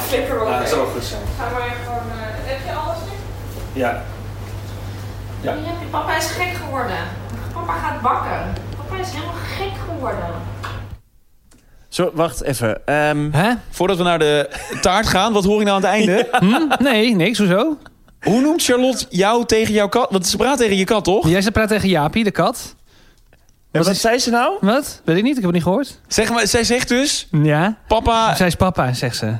[SPEAKER 6] flikker op.
[SPEAKER 5] Ja, Nou, dat zal wel goed zijn.
[SPEAKER 6] Ga maar gewoon... eh, heb je alles nu?
[SPEAKER 5] Ja. Ja.
[SPEAKER 6] Ja, Papa is gek geworden. Papa gaat bakken. Papa is helemaal gek geworden.
[SPEAKER 3] Zo, wacht even. Ehm,
[SPEAKER 2] Hè?
[SPEAKER 1] Voordat we naar de taart gaan, wat hoor ik nou aan het einde?
[SPEAKER 2] Hm? Nee, niks, hoezo?
[SPEAKER 1] Hoe noemt Charlotte jou tegen jouw kat? Want ze praat tegen je kat, toch?
[SPEAKER 2] Jij ze praat tegen Jaapie, de kat.
[SPEAKER 3] en wat zei ze nou?
[SPEAKER 2] Wat? Weet ik niet, ik heb het niet gehoord.
[SPEAKER 1] Zeg maar, zij zegt dus,
[SPEAKER 2] Ja?
[SPEAKER 1] papa,
[SPEAKER 2] Zij is papa, zegt ze.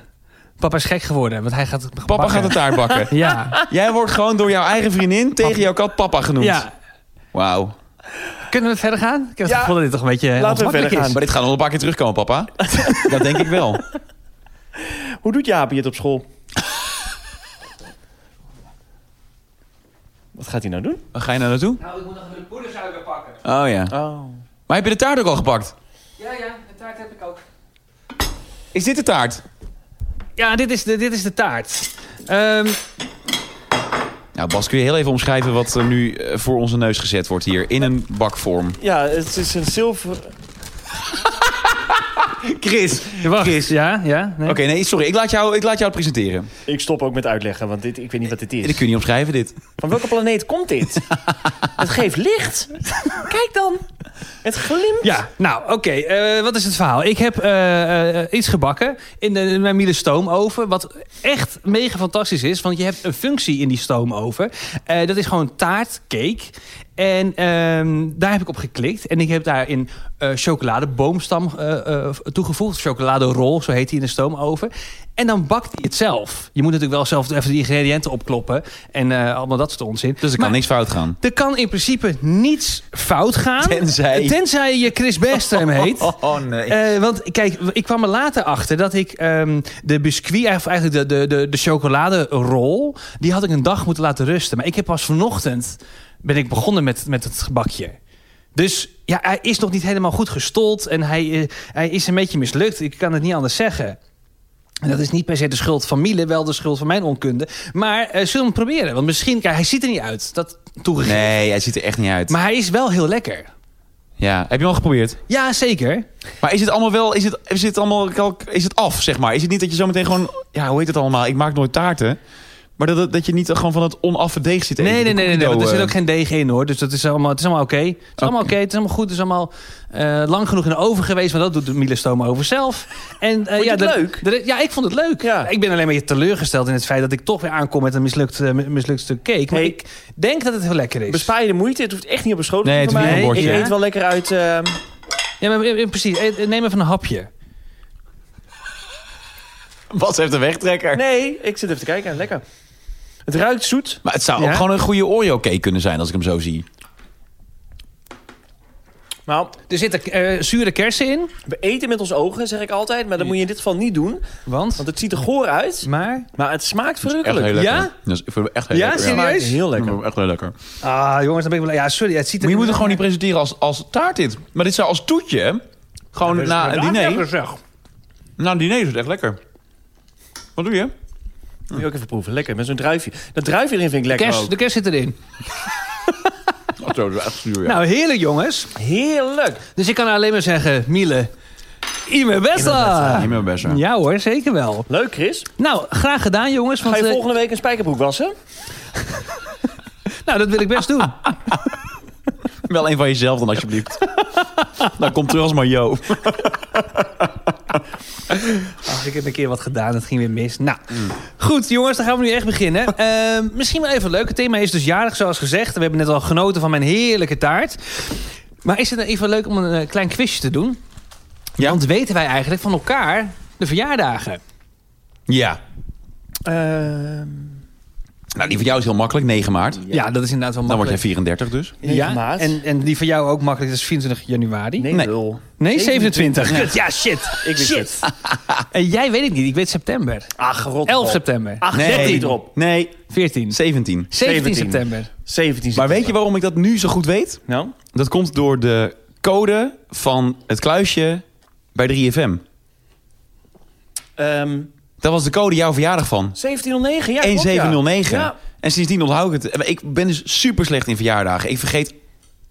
[SPEAKER 2] Papa is gek geworden, want hij gaat
[SPEAKER 1] papa
[SPEAKER 2] bakken.
[SPEAKER 1] gaat de taart bakken.
[SPEAKER 2] Ja.
[SPEAKER 1] Jij wordt gewoon door jouw eigen vriendin tegen jouw kat papa genoemd.
[SPEAKER 2] ja.
[SPEAKER 1] Wauw.
[SPEAKER 2] Kunnen we verder gaan? Ik heb
[SPEAKER 3] Ja.
[SPEAKER 2] het gevoel dat dit toch een beetje
[SPEAKER 3] Laten we
[SPEAKER 2] ongemakkelijk
[SPEAKER 3] verder
[SPEAKER 2] is.
[SPEAKER 3] gaan.
[SPEAKER 1] Maar dit gaat nog een paar keer terugkomen, papa. Dat denk ik wel.
[SPEAKER 3] Hoe doet Jaapie het op school? wat gaat hij nou doen?
[SPEAKER 1] Waar ga je nou naartoe?
[SPEAKER 5] Nou, ik moet nog even poedersuiker pakken.
[SPEAKER 1] Oh ja.
[SPEAKER 3] Oh.
[SPEAKER 1] Maar heb je de taart ook al gepakt?
[SPEAKER 5] Ja, ja, de taart heb ik ook.
[SPEAKER 1] Is dit de taart?
[SPEAKER 2] Ja, dit is de, dit is de taart. Ehm,
[SPEAKER 1] Nou, Bas, kun je heel even omschrijven wat er nu eh, voor onze neus gezet wordt hier? In een bakvorm.
[SPEAKER 3] Ja, het is een zilver...
[SPEAKER 1] Chris.
[SPEAKER 2] wacht.
[SPEAKER 1] Chris.
[SPEAKER 2] Ja, ja. Nee.
[SPEAKER 1] Oké, nee, sorry. Ik laat, jou, ik laat jou het presenteren.
[SPEAKER 3] Ik stop ook met uitleggen, want dit, ik weet niet wat dit
[SPEAKER 1] Dit
[SPEAKER 3] is.
[SPEAKER 1] kun je niet omschrijven, dit.
[SPEAKER 3] Van welke planeet komt dit? het geeft licht. Kijk dan. Het glimt.
[SPEAKER 2] Ja, nou, oké. eh, wat is het verhaal? Ik heb eh, eh, iets gebakken in, de, in mijn Miele stoomoven. Wat echt mega fantastisch is. Want je hebt een functie in die stoomoven. Eh, dat is gewoon taart, cake. En ehm, daar heb ik op geklikt. En ik heb daarin eh chocoladeboomstam eh, eh, toegevoegd. Chocoladerol, zo heet die in de stoomoven. En dan bakt hij het zelf. Je moet natuurlijk wel zelf even de ingrediënten opkloppen. En eh, allemaal dat soort onzin.
[SPEAKER 1] Dus er kan
[SPEAKER 2] Maar-
[SPEAKER 1] niks fout gaan.
[SPEAKER 2] er kan in principe niets fout gaan.
[SPEAKER 1] Tenzij-
[SPEAKER 2] Tenzij je Chris Bergström heet.
[SPEAKER 1] Oh nee.
[SPEAKER 2] Eh, want kijk, ik kwam er later achter dat ik ehm, de biscuit, of eigenlijk de, de, de, de chocoladerol, die had ik een dag moeten laten rusten. Maar ik heb pas vanochtend, ben ik begonnen met, met het gebakje. Dus ja, hij is nog niet helemaal goed gestold en hij, eh, hij is een beetje mislukt. Ik kan het niet anders zeggen. En dat is niet per se de schuld van Miele, wel de schuld van mijn onkunde. Maar eh, zullen we hem proberen? Want misschien, kijk, hij ziet er niet uit. Dat toegegeven.
[SPEAKER 1] Nee, hij ziet er echt niet uit.
[SPEAKER 2] Maar hij is wel heel lekker.
[SPEAKER 1] Ja, heb je hem al geprobeerd?
[SPEAKER 2] Ja, zeker.
[SPEAKER 1] Maar is het allemaal wel, is het, is het allemaal, kalk- is het af, zeg maar? Is het niet dat je zometeen gewoon, ja, hoe heet het allemaal? Ik maak nooit taarten. Maar dat, dat je niet gewoon van het onaffe deeg zit.
[SPEAKER 2] Nee,
[SPEAKER 1] eten,
[SPEAKER 2] nee,
[SPEAKER 1] de
[SPEAKER 2] nee, nee, nee.
[SPEAKER 1] cookie
[SPEAKER 2] want er
[SPEAKER 1] dough,
[SPEAKER 2] zit ook geen deeg in hoor. Dus dat is allemaal, het is allemaal oké. Het is allemaal eh. oké, het is allemaal goed. Het is allemaal eh, lang genoeg in de oven geweest. Maar dat doet Miele Stoma over zelf. En, eh,
[SPEAKER 3] Vond je
[SPEAKER 2] ja,
[SPEAKER 3] het
[SPEAKER 2] dat-
[SPEAKER 3] leuk?
[SPEAKER 2] dat- ja, ik vond het leuk.
[SPEAKER 3] Ja.
[SPEAKER 2] Ik ben alleen maar je teleurgesteld in het feit dat ik toch weer aankom met een mislukt, eh, mislukt stuk cake. Maar
[SPEAKER 3] Hey.
[SPEAKER 2] ik denk dat het heel lekker is.
[SPEAKER 3] Bespaar je de moeite. Het hoeft echt niet op een schoot te
[SPEAKER 1] Nee, het
[SPEAKER 3] komen.
[SPEAKER 1] hoeft
[SPEAKER 2] niet op een
[SPEAKER 3] Ik
[SPEAKER 2] bordje.
[SPEAKER 3] eet wel lekker uit... ehm,
[SPEAKER 2] Ja, maar, eh, eh, precies. Eh, eh, Neem even een hapje.
[SPEAKER 1] eh. Bas heeft een wegtrekker.
[SPEAKER 3] Nee, ik zit even te kijken. Lekker. Het ruikt zoet.
[SPEAKER 1] Maar het zou
[SPEAKER 2] Ja?
[SPEAKER 1] ook gewoon een goede Oreo-cake kunnen zijn, als ik hem zo zie.
[SPEAKER 3] Nou,
[SPEAKER 2] Er zitten eh, zure kersen in.
[SPEAKER 3] we eten met ons ogen, zeg ik altijd. Maar dat moet je in dit geval niet doen.
[SPEAKER 2] Want?
[SPEAKER 3] Want het ziet er goor uit.
[SPEAKER 2] Maar?
[SPEAKER 3] Maar het smaakt
[SPEAKER 1] Echt heel
[SPEAKER 3] verrukkelijk.
[SPEAKER 1] lekker.
[SPEAKER 2] Ja?
[SPEAKER 1] Dat is, ik vind hem echt heel
[SPEAKER 2] Ja,
[SPEAKER 1] lekker.
[SPEAKER 2] serieus?
[SPEAKER 3] Het smaakt heel
[SPEAKER 1] Ik
[SPEAKER 3] lekker.
[SPEAKER 1] vind hem echt heel lekker.
[SPEAKER 2] Ah, jongens, dan ben ik wel... Ja, sorry. Het ziet er Oh.
[SPEAKER 1] Maar je moet het gewoon niet presenteren als, als taart dit. Maar dit zou als toetje, hè? gewoon na een diner. Na een diner is het echt lekker. Wat doe je?
[SPEAKER 3] Moet je ook even proeven. Lekker, met zo'n druifje. Dat druifje erin vind ik lekker
[SPEAKER 2] Kers,
[SPEAKER 3] ook.
[SPEAKER 2] de kers zit erin.
[SPEAKER 1] Oh, zo, dat is echt zuur, ja.
[SPEAKER 2] Nou, heerlijk jongens.
[SPEAKER 3] Heerlijk.
[SPEAKER 2] Dus ik kan alleen maar zeggen, Miele, Ime
[SPEAKER 1] niet
[SPEAKER 2] Besta.
[SPEAKER 1] meer best, hè.
[SPEAKER 2] Ja hoor, zeker wel.
[SPEAKER 3] Leuk, Chris.
[SPEAKER 2] Nou, graag gedaan jongens. Want,
[SPEAKER 3] Ga je
[SPEAKER 2] eh,
[SPEAKER 3] volgende week een spijkerbroek wassen?
[SPEAKER 2] nou, dat wil ik best doen.
[SPEAKER 1] Wel een van jezelf dan, alsjeblieft. dan komt terug als Mario.
[SPEAKER 2] Ach, ik heb een keer wat gedaan, dat ging weer mis. Nou, goed jongens, dan gaan we nu echt beginnen. Ehm, misschien wel even leuk. Het thema is dus jarig, zoals gezegd. We hebben net al genoten van mijn heerlijke taart. Maar is het nou even leuk om een eh, klein quizje te doen?
[SPEAKER 1] Ja.
[SPEAKER 2] Want weten wij eigenlijk van elkaar de verjaardagen?
[SPEAKER 1] Ja. Nou, die van jou is heel makkelijk, 9 maart.
[SPEAKER 2] Ja, dat is inderdaad wel
[SPEAKER 1] Dan word jij
[SPEAKER 2] makkelijk.
[SPEAKER 1] 34 dus.
[SPEAKER 3] Ja,
[SPEAKER 2] ja, en, en die van jou ook makkelijk, dat is 24 januari.
[SPEAKER 3] Nee,
[SPEAKER 1] Nee.
[SPEAKER 3] lul.
[SPEAKER 2] Nee, 27. Kut, Ja, shit.
[SPEAKER 3] Ik wist
[SPEAKER 2] shit.
[SPEAKER 3] het.
[SPEAKER 2] En Eh, jij weet het niet. Ik weet september.
[SPEAKER 3] Ach, rot.
[SPEAKER 2] 11
[SPEAKER 3] op.
[SPEAKER 2] september.
[SPEAKER 3] Ach,
[SPEAKER 1] nee.
[SPEAKER 3] zet die erop.
[SPEAKER 1] Nee, 17.
[SPEAKER 2] 14. 17
[SPEAKER 3] 17.
[SPEAKER 2] september.
[SPEAKER 3] 17
[SPEAKER 1] Maar weet je waarom ik dat nu zo goed weet?
[SPEAKER 3] Nou?
[SPEAKER 1] Dat komt door de code van het kluisje bij 3FM.
[SPEAKER 3] ehm,
[SPEAKER 1] Dat was de code jouw verjaardag van.
[SPEAKER 3] 1709, ja. klopt, ja.
[SPEAKER 1] 1709.
[SPEAKER 3] Ja.
[SPEAKER 1] En sindsdien onthoud ik het. Ik ben dus super slecht in verjaardagen. Ik vergeet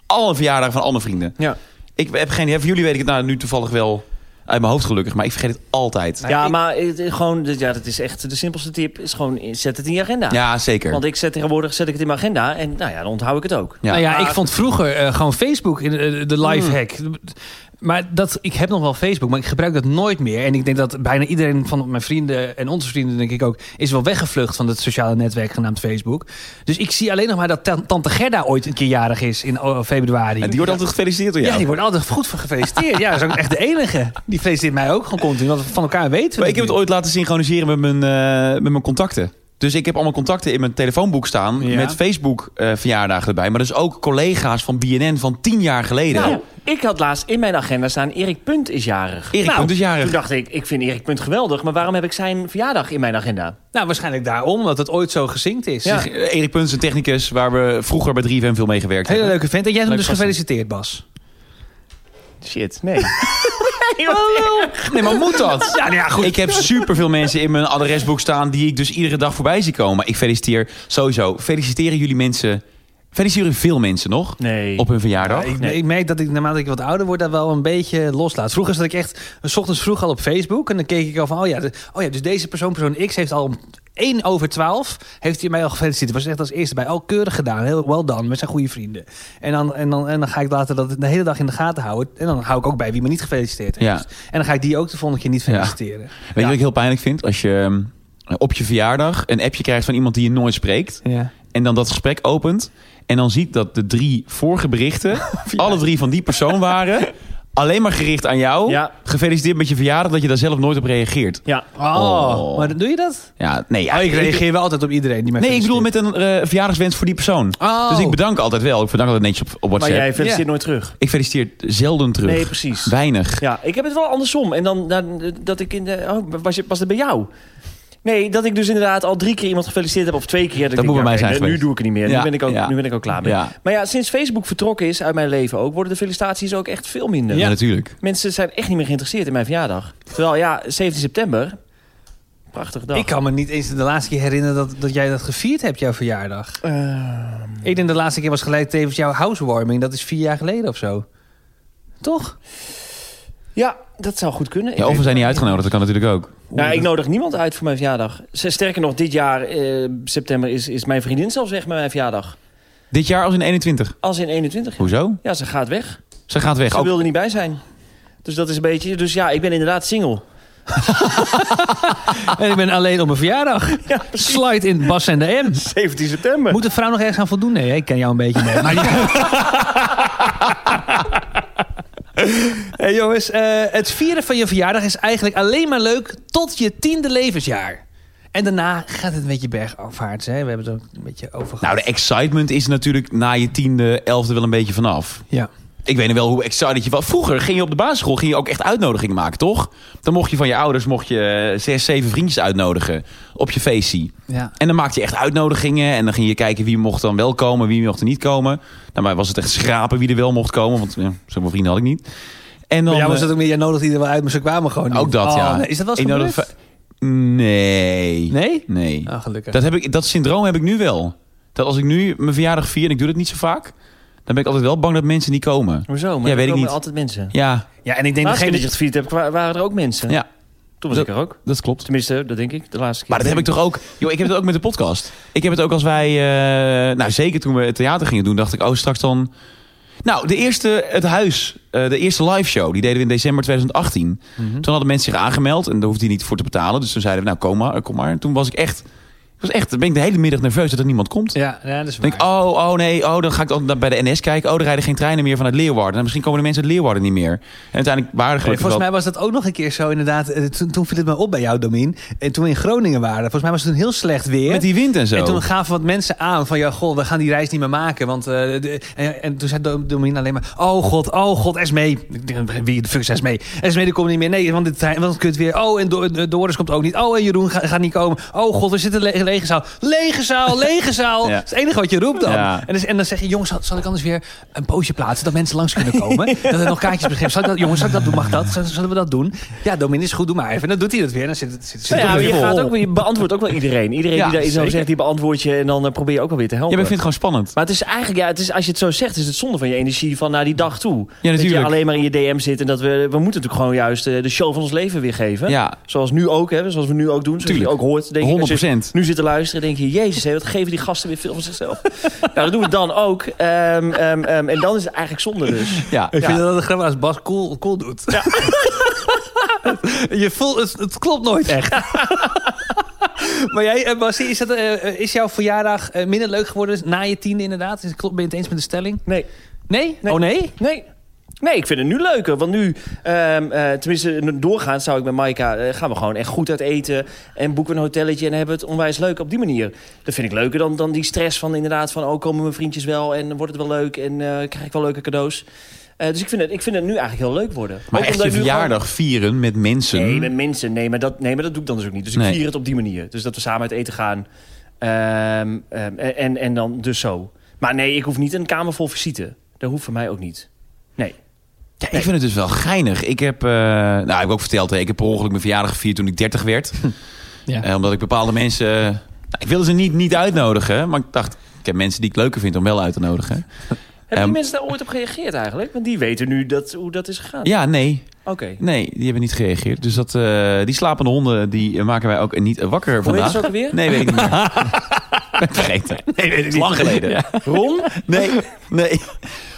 [SPEAKER 1] alle verjaardagen van al mijn vrienden.
[SPEAKER 3] Ja.
[SPEAKER 1] Ik heb geen idee. Voor jullie weet ik het nou nu toevallig wel uit mijn hoofd gelukkig. Maar ik vergeet het altijd.
[SPEAKER 3] Ja,
[SPEAKER 2] Nou,
[SPEAKER 3] maar het, gewoon, dit- ja, dat is echt de simpelste tip. Is gewoon, eh, zet het in je agenda.
[SPEAKER 1] Ja, zeker.
[SPEAKER 3] Want ik zet tegenwoordig zet ik het in mijn agenda en nou ja, dan onthoud ik het ook.
[SPEAKER 1] Ja. Mm.
[SPEAKER 2] Nou ja, ik vond vroeger eh, gewoon Facebook in, eh, de live hack. Maar dat, ik heb nog wel Facebook, maar ik gebruik dat nooit meer. En ik denk dat bijna iedereen van mijn vrienden en onze vrienden, denk ik ook, is wel weggevlucht van het sociale netwerk genaamd Facebook. Dus ik zie alleen nog maar dat ta- tante Gerda ooit een keer jarig is in oh, februari.
[SPEAKER 1] En die wordt altijd gefeliciteerd door jou.
[SPEAKER 2] ja, die wordt altijd goed voor gefeliciteerd. ja, dat is ook echt de enige. Die feliciteert mij ook gewoon continu, want van elkaar weten we
[SPEAKER 1] Maar ik heb het
[SPEAKER 2] nu.
[SPEAKER 1] ooit laten synchroniseren met mijn, eh, met mijn contacten. Dus ik heb allemaal contacten in mijn telefoonboek staan.
[SPEAKER 2] Ja.
[SPEAKER 1] Met Facebook eh, verjaardagen erbij. Maar dus ook collega's van BNN van tien jaar geleden.
[SPEAKER 3] Nou, ik had laatst in mijn agenda staan... Erik Punt is jarig.
[SPEAKER 1] Erik
[SPEAKER 3] nou,
[SPEAKER 1] Punt is jarig.
[SPEAKER 3] Toen dacht ik, ik vind Erik Punt geweldig... maar waarom heb ik zijn verjaardag in mijn agenda?
[SPEAKER 2] Nou, waarschijnlijk daarom, dat het ooit zo gezinkt is.
[SPEAKER 1] Zeg, eh, Erik Punt is een technicus waar we vroeger bij 3FM veel mee gewerkt
[SPEAKER 2] Hele
[SPEAKER 1] hebben.
[SPEAKER 2] leuke vent. En jij hebt hem
[SPEAKER 3] Leuk
[SPEAKER 2] dus
[SPEAKER 3] gasten.
[SPEAKER 2] gefeliciteerd, Bas.
[SPEAKER 3] Shit, nee.
[SPEAKER 1] Oh. Nee, maar moet dat? Ja, ja, goed. Ik heb superveel mensen in mijn adresboek staan die ik dus iedere dag voorbij zie komen. Maar ik feliciteer sowieso. Feliciteren jullie mensen. Feliciteren veel mensen nog?
[SPEAKER 3] Nee.
[SPEAKER 1] Op hun verjaardag?
[SPEAKER 2] Nou, Ik,
[SPEAKER 3] Nee.
[SPEAKER 2] ik merk dat ik naarmate ik wat ouder word, dat wel een beetje loslaat. Vroeger zat ik echt, s ochtends vroeg al op Facebook. En dan keek ik al van, oh ja, de- oh ja dus deze persoon, persoon X, heeft al om 1 over 12, heeft hij mij al gefeliciteerd. Was echt als eerste bij, al keurig gedaan, heel wel dan, met zijn goede vrienden. En dan, en, dan, en dan ga ik later dat de hele dag in de gaten houden. En dan hou ik ook bij wie me niet gefeliciteerd heeft.
[SPEAKER 1] Ja.
[SPEAKER 2] En dan ga ik die ook de volgende keer niet
[SPEAKER 1] Ja.
[SPEAKER 2] feliciteren.
[SPEAKER 1] Weet je wat ik heel pijnlijk vind? Als je ehm, op je verjaardag een appje krijgt van iemand die je nooit spreekt.
[SPEAKER 2] Ja.
[SPEAKER 1] En dan dat gesprek opent. En dan ziet dat de drie vorige berichten, alle drie van die persoon waren. Alleen maar gericht aan jou.
[SPEAKER 3] Ja.
[SPEAKER 1] Gefeliciteerd met je verjaardag dat je daar zelf nooit op reageert.
[SPEAKER 3] Ja,
[SPEAKER 2] Oh,
[SPEAKER 1] Oh.
[SPEAKER 2] maar doe je dat?
[SPEAKER 1] Ja, nee. ja,
[SPEAKER 2] Oh, ik reageer wel altijd op iedereen die mij
[SPEAKER 1] Nee, ik bedoel
[SPEAKER 2] feliciteert.
[SPEAKER 1] met een eh, verjaardagswens voor die persoon.
[SPEAKER 2] Oh.
[SPEAKER 1] Dus ik bedank altijd wel. Ik bedank altijd netjes op, op
[SPEAKER 3] maar
[SPEAKER 1] WhatsApp.
[SPEAKER 3] jij feliciteert
[SPEAKER 2] Ja.
[SPEAKER 3] nooit terug.
[SPEAKER 1] Ik feliciteer zelden terug.
[SPEAKER 3] Nee, precies.
[SPEAKER 1] Weinig.
[SPEAKER 3] Ja, ik heb het wel andersom. En dan, dan dat ik in de... Oh, was, je, was het bij jou? Nee, dat ik dus inderdaad al drie keer iemand gefeliciteerd heb of twee keer. ik
[SPEAKER 1] Dat moet
[SPEAKER 3] denk,
[SPEAKER 1] bij mij
[SPEAKER 3] oké,
[SPEAKER 1] zijn
[SPEAKER 3] nu- Nu
[SPEAKER 1] geweest.
[SPEAKER 3] doe ik het niet meer.
[SPEAKER 1] Ja,
[SPEAKER 3] nu, ben ik ook,
[SPEAKER 1] ja.
[SPEAKER 3] nu ben ik ook klaar mee.
[SPEAKER 1] Ja.
[SPEAKER 3] Maar ja, sinds Facebook vertrokken is uit mijn leven ook... worden de felicitaties ook echt veel minder.
[SPEAKER 1] Ja, natuurlijk.
[SPEAKER 3] Mensen zijn echt niet meer geïnteresseerd in mijn verjaardag. Terwijl, ja, 17 september... Prachtige dag.
[SPEAKER 2] Ik kan me niet eens de laatste keer herinneren dat, dat jij dat gevierd hebt, jouw verjaardag. Ik denk de laatste keer was gelijk tevens jouw housewarming. Dat is vier jaar geleden of zo. Toch?
[SPEAKER 3] Ja, dat zou goed kunnen. Ik
[SPEAKER 1] Ja, of we
[SPEAKER 3] weet-
[SPEAKER 1] zijn niet uitgenodigd. Dat kan natuurlijk ook.
[SPEAKER 3] Nou, ik nodig niemand uit voor mijn verjaardag. Z- Sterker nog, dit jaar, eh, september, is, is mijn vriendin zelfs weg met mijn verjaardag.
[SPEAKER 1] Dit jaar als in 21.
[SPEAKER 3] Als in 21.
[SPEAKER 1] Hoezo?
[SPEAKER 3] Ja, ze gaat weg.
[SPEAKER 1] Ze gaat weg.
[SPEAKER 3] Ze
[SPEAKER 1] Ook
[SPEAKER 3] wilde niet bij zijn. Dus dat is een beetje... Dus ja, ik ben inderdaad single.
[SPEAKER 2] En ik ben alleen op mijn verjaardag. Slide in Bas en de M.
[SPEAKER 3] 17 september.
[SPEAKER 2] Moet de vrouw nog ergens aan voldoen? Nee, hè? ik ken jou een beetje mee. Maar die- hey jongens, eh, het vieren van je verjaardag is eigenlijk alleen maar leuk tot je tiende levensjaar. En daarna gaat het een beetje bergafwaarts. Hè? We hebben het ook een beetje over gehad.
[SPEAKER 1] Nou, de excitement is natuurlijk na je tiende, elfde wel een beetje vanaf.
[SPEAKER 2] ja.
[SPEAKER 1] Ik weet nog wel hoe excited je was. Vroeger ging je op de basisschool ging je ook echt uitnodigingen maken, toch? Dan mocht je van je ouders mocht je eh, zes, zeven vriendjes uitnodigen op je feestje.
[SPEAKER 2] Ja.
[SPEAKER 1] En dan maakte je echt uitnodigingen en dan ging je kijken wie mocht dan wel komen, wie mocht er niet komen. Nou, maar was het echt schrapen wie er wel mocht komen, want ja, zoveel vrienden had ik niet. En dan,
[SPEAKER 2] Bij jou was
[SPEAKER 1] eh,
[SPEAKER 2] dat ook meer, jij nodigde iedereen wel uit, maar ze kwamen gewoon niet.
[SPEAKER 1] ook dat,
[SPEAKER 2] Oh,
[SPEAKER 1] ja.
[SPEAKER 2] nee. Is dat wel
[SPEAKER 1] Ik
[SPEAKER 2] eens
[SPEAKER 1] nodig
[SPEAKER 2] gebeurd?
[SPEAKER 1] va- Nee.
[SPEAKER 2] Nee?
[SPEAKER 1] Nee.
[SPEAKER 2] Ah, gelukkig.
[SPEAKER 1] Dat, heb ik, dat syndroom heb ik nu wel. Dat als ik nu mijn verjaardag vier en ik doe dat niet zo vaak, dan ben ik altijd wel bang dat mensen niet
[SPEAKER 2] Oh.
[SPEAKER 1] komen.
[SPEAKER 3] Hoezo? Maar
[SPEAKER 1] Ja,
[SPEAKER 3] er
[SPEAKER 1] weet ik
[SPEAKER 3] komen
[SPEAKER 1] niet.
[SPEAKER 3] altijd mensen.
[SPEAKER 1] Ja,
[SPEAKER 2] ja, en ik
[SPEAKER 3] De
[SPEAKER 2] denk
[SPEAKER 3] laatste keer
[SPEAKER 2] degene
[SPEAKER 3] dat je het gevierd hebt, wa- waren er ook mensen.
[SPEAKER 1] ja
[SPEAKER 3] Toen was ik er ook.
[SPEAKER 1] dat klopt.
[SPEAKER 3] Tenminste, dat denk ik. De laatste keer.
[SPEAKER 1] Maar dat heb ik toch ook. Joh, ik heb het ook met de podcast. Ik heb het ook als wij. eh, nou, zeker toen we het theater gingen doen, dacht ik, oh, straks dan. Nou, de eerste, het huis, eh, de eerste live show, die deden we in december 2018.
[SPEAKER 2] Mhm.
[SPEAKER 1] Toen hadden mensen zich aangemeld en daar hoefde je niet voor te betalen. Dus toen zeiden we, nou, kom maar. eh, Kom maar. En toen was ik echt, ik was echt, ben ik de hele middag nerveus dat er niemand komt.
[SPEAKER 2] Ja, ja, dat is
[SPEAKER 1] Dan denk ik, oh, oh nee, oh, dan ga ik dan bij de NS kijken. Oh, er rijden geen treinen meer vanuit Leeuwarden. Nou, misschien komen de mensen uit Leeuwarden niet meer. En uiteindelijk waren er
[SPEAKER 2] Nee,
[SPEAKER 1] gelukkig
[SPEAKER 2] volgens
[SPEAKER 1] wel-
[SPEAKER 2] mij was dat ook nog een keer zo, inderdaad. Eh, Toen, toen viel het me op bij jou, Domien. En toen we in Groningen waren, volgens mij was het een heel slecht weer.
[SPEAKER 1] Met die wind en zo.
[SPEAKER 2] En toen gaven wat mensen aan van, ja, goh, we gaan die reis niet meer maken. Want, eh, de- en, en toen zei Dom- Domien alleen maar, oh god, oh god, Esmee. Ik denk, Wie de fuck is Esmee? Esmee, die komt niet meer. Nee, want dit trein- want het kut weer. Oh, en Do- eh, Doris komt ook niet. Oh, en Jeroen ga- gaat niet komen. Oh god, we zitten in le lege zaal. Lege zaal, lege zaal.
[SPEAKER 1] Ja.
[SPEAKER 2] Dat is het enige wat je roept dan.
[SPEAKER 1] Ja.
[SPEAKER 2] En, dus, en dan zeg je, jongens, zal, zal ik anders weer een poosje plaatsen... dat mensen langs kunnen komen? dat er nog kaartjes beginnen. Zal ik dat, jongens, zal ik dat doen? Mag dat? Zal- Zullen we dat doen? Ja, Domin is goed, doe maar even. En dan doet hij dat weer. En dan zit, het- zit, zit
[SPEAKER 3] Nou
[SPEAKER 2] het
[SPEAKER 3] ja, maar
[SPEAKER 2] weer
[SPEAKER 3] je,
[SPEAKER 2] vol.
[SPEAKER 3] gaat ook, je beantwoordt ook wel iedereen. Iedereen
[SPEAKER 1] Ja,
[SPEAKER 3] die daar iets over
[SPEAKER 1] zeker.
[SPEAKER 3] zegt, die beantwoord je. En dan eh, probeer je ook wel weer te
[SPEAKER 1] Ja,
[SPEAKER 3] helpen.
[SPEAKER 1] maar ik vind het gewoon spannend.
[SPEAKER 3] Maar het is eigenlijk, ja, het is, als je het zo zegt, is het zonde van je energie van naar die dag toe. Dat je
[SPEAKER 1] natuurlijk.
[SPEAKER 3] alleen maar in je DM zit en dat we, we moeten natuurlijk gewoon juist eh, de show van ons leven weer geven.
[SPEAKER 1] Ja,
[SPEAKER 3] Zoals nu ook, hè, zoals we nu ook doen. Zoals
[SPEAKER 1] Tuurlijk.
[SPEAKER 3] je ook hoort, denk ik.
[SPEAKER 1] 100%.
[SPEAKER 3] Nu zitten zit te luisteren, denk je... Jezus, hé, wat geven die gasten weer veel van zichzelf. nou, dat doen we dan ook. Ehm, ehm, ehm, en dan is het eigenlijk zonde dus.
[SPEAKER 1] Ja.
[SPEAKER 2] Ik vind
[SPEAKER 3] Ja.
[SPEAKER 2] dat het grappig als Bas cool, cool doet. Je voelt, het, het klopt nooit echt. maar jij, eh, Bas, is, dat, eh, eh, is jouw verjaardag eh, minder leuk geworden na je tiende inderdaad? Is, klopt, ben je het eens met de stelling?
[SPEAKER 3] Nee.
[SPEAKER 2] Nee?
[SPEAKER 3] Nee.
[SPEAKER 2] Oh nee?
[SPEAKER 3] Nee. Nee, ik vind het nu leuker. Want nu, ehm, eh, tenminste, n- doorgaans zou ik met Maika... eh, gaan we gewoon echt goed uit eten. En boeken we een hotelletje en hebben we het onwijs leuk op die manier. Dat vind ik leuker dan, dan die stress van inderdaad... van oh, komen mijn vriendjes wel en wordt het wel leuk... en eh, krijg ik wel leuke cadeaus. Eh, dus ik vind, het, ik vind het nu eigenlijk heel leuk worden.
[SPEAKER 1] Maar
[SPEAKER 3] Ook
[SPEAKER 1] echt
[SPEAKER 3] omdat
[SPEAKER 1] je
[SPEAKER 3] ik nu gewoon-
[SPEAKER 1] verjaardag vieren met mensen.
[SPEAKER 3] Nee, met mensen. Nee maar, dat, nee, maar dat doe ik dan dus ook niet. Dus ik
[SPEAKER 1] Nee.
[SPEAKER 3] vier het op die manier. Dus dat we samen uit eten gaan. Ehm, ehm, en, en dan dus zo. Maar nee, ik hoef niet een kamer vol visite. Dat hoeft voor mij ook niet. Nee.
[SPEAKER 1] Ja, ik vind het dus wel geinig. Ik heb, eh, nou, ik heb ook verteld, hè, ik heb per ongeluk mijn verjaardag gevierd toen ik 30 werd.
[SPEAKER 2] Ja.
[SPEAKER 1] Eh, omdat ik bepaalde mensen, eh, nou, ik wilde ze niet, niet uitnodigen. Maar ik dacht, ik heb mensen die ik leuker vind om wel uit te nodigen.
[SPEAKER 3] Hebben
[SPEAKER 1] Ehm,
[SPEAKER 3] die mensen daar ooit op gereageerd eigenlijk? Want die weten nu dat, hoe dat is gegaan.
[SPEAKER 1] Ja, nee.
[SPEAKER 3] Oké.
[SPEAKER 1] Nee, die hebben niet gereageerd. Dus dat, eh, die slapende honden, die eh, maken wij ook niet wakker
[SPEAKER 3] Hoe heet
[SPEAKER 1] vandaag.
[SPEAKER 3] ze ook alweer?
[SPEAKER 1] Nee, weet ik niet meer. Ik ben het Vergeten. Nee, weet ik niet. Lang geleden.
[SPEAKER 3] Ron?
[SPEAKER 1] Nee, nee.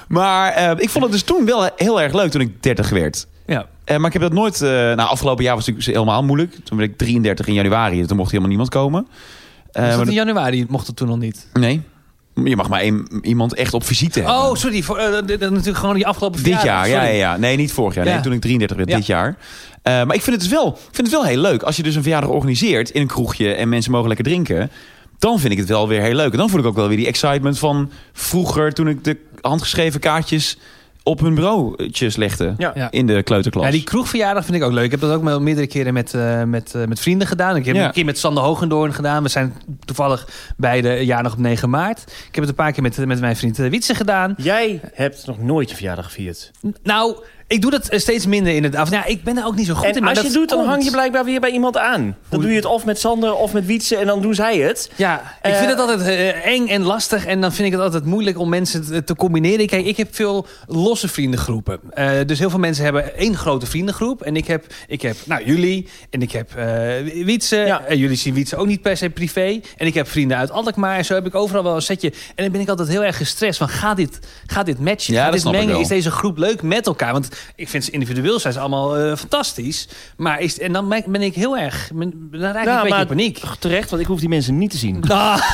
[SPEAKER 1] Maar eh, ik vond het dus toen wel heel erg leuk toen ik 30 werd.
[SPEAKER 2] Ja.
[SPEAKER 1] Eh, maar ik heb dat nooit... eh nou, afgelopen jaar was het natuurlijk helemaal moeilijk. Toen werd ik 33 in januari. dus Toen mocht helemaal niemand komen. Eh,
[SPEAKER 2] Was
[SPEAKER 1] maar
[SPEAKER 2] dat in januari? Mocht het toen nog niet.
[SPEAKER 1] dat- Nee. Je mag maar één- iemand echt op visite hebben.
[SPEAKER 2] Oh, sorry. Voor, eh, dit- dit- natuurlijk gewoon die afgelopen
[SPEAKER 1] Dit jaar,
[SPEAKER 2] verjaardag,
[SPEAKER 1] ja, ja,
[SPEAKER 2] sorry.
[SPEAKER 1] ja. Nee, niet vorig jaar. Nee,
[SPEAKER 2] Ja.
[SPEAKER 1] toen ik 33 werd,
[SPEAKER 2] Ja.
[SPEAKER 1] dit jaar. Eh, maar ik vind, het dus wel, ik vind het wel heel leuk. Als je dus een verjaardag organiseert in een kroegje... en mensen mogen lekker drinken... dan vind ik het wel weer heel leuk. En dan voel ik ook wel weer die excitement van vroeger... toen ik de handgeschreven kaartjes op hun bureautjes legde...
[SPEAKER 3] Ja.
[SPEAKER 2] Ja.
[SPEAKER 1] in de kleuterklas.
[SPEAKER 2] Ja, die kroegverjaardag vind ik ook leuk. Ik heb dat ook wel meerdere keren met, eh, met, eh, met vrienden gedaan. Ik heb
[SPEAKER 1] Ja.
[SPEAKER 2] een keer met Sander Hogendoorn gedaan. We zijn toevallig beide jarig op 9 maart. Ik heb het een paar keer met, met mijn vriend eh, Wietse gedaan.
[SPEAKER 3] Jij hebt nog nooit je verjaardag gevierd.
[SPEAKER 2] N- Nou, ik doe dat eh, steeds minder in het af. Nou, ik ben daar ook niet zo goed in.
[SPEAKER 3] en
[SPEAKER 2] maar
[SPEAKER 3] als je
[SPEAKER 2] dat
[SPEAKER 3] het doet, dan
[SPEAKER 2] komt.
[SPEAKER 3] hang je blijkbaar weer bij iemand aan. Dan doe je het of met Sander of met Wietse en dan doen zij het.
[SPEAKER 2] Ja, ik
[SPEAKER 3] Eh,
[SPEAKER 2] vind het altijd eh, eng en lastig. En dan vind ik het altijd moeilijk om mensen te, te combineren. Kijk, ik heb veel losse vriendengroepen. Eh, dus heel veel mensen hebben één grote vriendengroep. En ik heb, ik heb nou, jullie. En ik heb eh Wietse.
[SPEAKER 3] Ja.
[SPEAKER 2] En jullie zien Wietse ook niet per se privé. En ik heb vrienden uit Alkmaar. En zo heb ik overal wel een setje. En dan ben ik altijd heel erg gestrest. Van, gaat dit, gaat dit matchen?
[SPEAKER 1] Ja,
[SPEAKER 2] gaat
[SPEAKER 1] dat
[SPEAKER 2] dit
[SPEAKER 1] snap ik
[SPEAKER 2] mengen?
[SPEAKER 1] wel.
[SPEAKER 2] Is deze groep leuk met elkaar? Want ik vind ze individueel zijn ze allemaal eh, fantastisch. Maar is, en dan ben ik- ben ik heel erg... ben- Dan raak ik
[SPEAKER 3] Ja,
[SPEAKER 2] een beetje
[SPEAKER 3] Nou, maar-
[SPEAKER 2] in paniek.
[SPEAKER 3] Terecht, want ik hoef die mensen niet te zien.
[SPEAKER 2] Ah.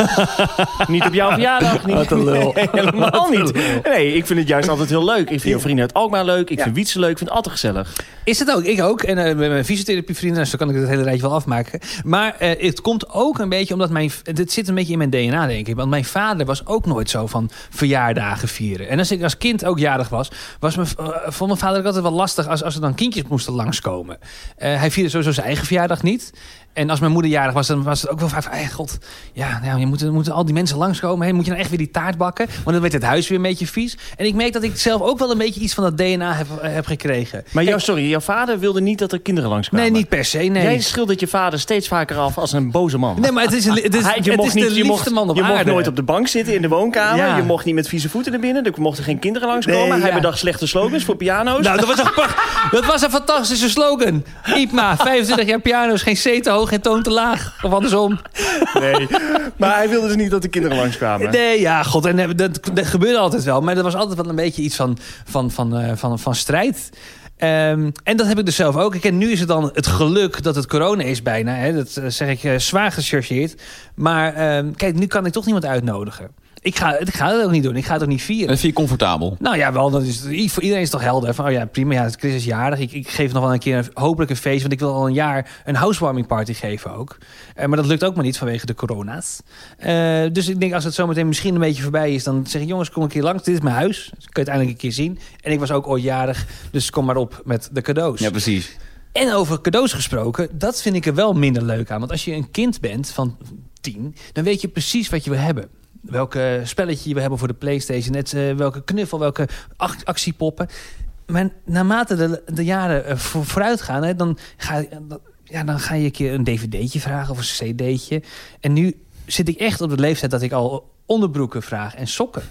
[SPEAKER 3] Niet op jouw verjaardag. Niet.
[SPEAKER 2] Wat een lul.
[SPEAKER 3] Nee, helemaal niet. Nee, ik vind het juist altijd heel leuk. Ik vind jouw vrienden uit Alkmaar leuk. Ik vind Wietse leuk. Ik vind het altijd gezellig.
[SPEAKER 2] Is het ook. Ik ook. En eh, met mijn fysiotherapievrienden, nou, zo kan ik het hele rijtje wel afmaken. Maar eh, het komt ook een beetje omdat mijn... Dit zit een beetje in mijn DNA, denk ik. Want mijn vader was ook nooit zo van verjaardagen vieren. En als ik als kind ook jarig was, was mijn, eh, vond mijn vader ook altijd wel lastig als, als er dan kindjes moesten langskomen. Eh, hij vierde sowieso zijn eigen verjaardag niet. En als mijn moeder jarig was, dan was het ook wel vaak van... Hey, god, ja, nou, je moet, er moeten al die mensen langskomen. Hey, moet je nou echt weer die taart bakken? Want dan werd het huis weer een beetje vies. En ik merk dat ik zelf ook wel een beetje iets van dat DNA heb, eh, heb gekregen.
[SPEAKER 3] Maar jouw, sorry, jouw vader wilde niet dat er kinderen langskwamen.
[SPEAKER 2] Nee, niet per se. Nee.
[SPEAKER 3] Jij schildert je vader steeds vaker af als een boze man.
[SPEAKER 2] Nee, maar het is, het is,
[SPEAKER 3] Hij-
[SPEAKER 2] het is de
[SPEAKER 3] je
[SPEAKER 2] liefste
[SPEAKER 3] mocht,
[SPEAKER 2] man op
[SPEAKER 3] je mocht
[SPEAKER 2] aarde.
[SPEAKER 3] nooit op de bank zitten in de woonkamer.
[SPEAKER 2] Ja.
[SPEAKER 3] Je mocht niet met vieze voeten naar binnen. Er mochten geen kinderen langskomen.
[SPEAKER 2] Nee,
[SPEAKER 3] Hij
[SPEAKER 2] ja.
[SPEAKER 3] bedacht slechte slogans voor piano's.
[SPEAKER 2] nou, dat was, een, pracht- dat was een fantastische slogan. Iepma, 25 jaar piano's, geen C te hoog, geen toon te laag. Of andersom.
[SPEAKER 3] nee. Maar hij wilde dus niet dat de kinderen langskwamen.
[SPEAKER 2] Nee, ja, god. En eh, dat, dat gebeurde altijd wel. Maar dat was altijd wel een beetje iets van, van, van, eh, van, van strijd. Ehm, en dat heb ik dus zelf ook. Kijk, en nu is het dan het geluk dat het corona is bijna. Hè? Dat eh, zeg ik eh, zwaar gechargeerd. Maar ehm, kijk, nu kan ik toch niemand uitnodigen. Ik ga, ik ga het ook niet doen. Ik ga het ook niet vieren.
[SPEAKER 1] Dat vind je comfortabel.
[SPEAKER 2] Nou ja, wel, dat is, voor iedereen is het toch helder. Van, oh ja, prima, ja, Chris is jarig. Ik, ik geef nog wel een keer een, hopelijk een feest. Want ik wil al een jaar een housewarming party geven ook. Eh, maar dat lukt ook maar niet vanwege de corona's. Eh, dus ik denk, als het zometeen misschien een beetje voorbij is... dan zeg ik, jongens, kom een keer langs. Dit is mijn huis. Dus kun je het eindelijk een keer zien. En ik was ook ooit jarig, dus kom maar op met de cadeaus.
[SPEAKER 1] Ja, precies.
[SPEAKER 2] En over cadeaus gesproken, dat vind ik er wel minder leuk aan. Want als je een kind bent van tien, dan weet je precies wat je wil hebben. Welke spelletje je wil hebben voor de Playstation. Net, eh, welke knuffel, welke ac- actiepoppen. Maar naarmate de, de jaren eh, voor- vooruit gaan, hè, dan, ga, je- dan- ja, dan ga je een keer een dvd'tje vragen of een cd'tje. En nu zit ik echt op de leeftijd dat ik al onderbroeken vraag en sokken.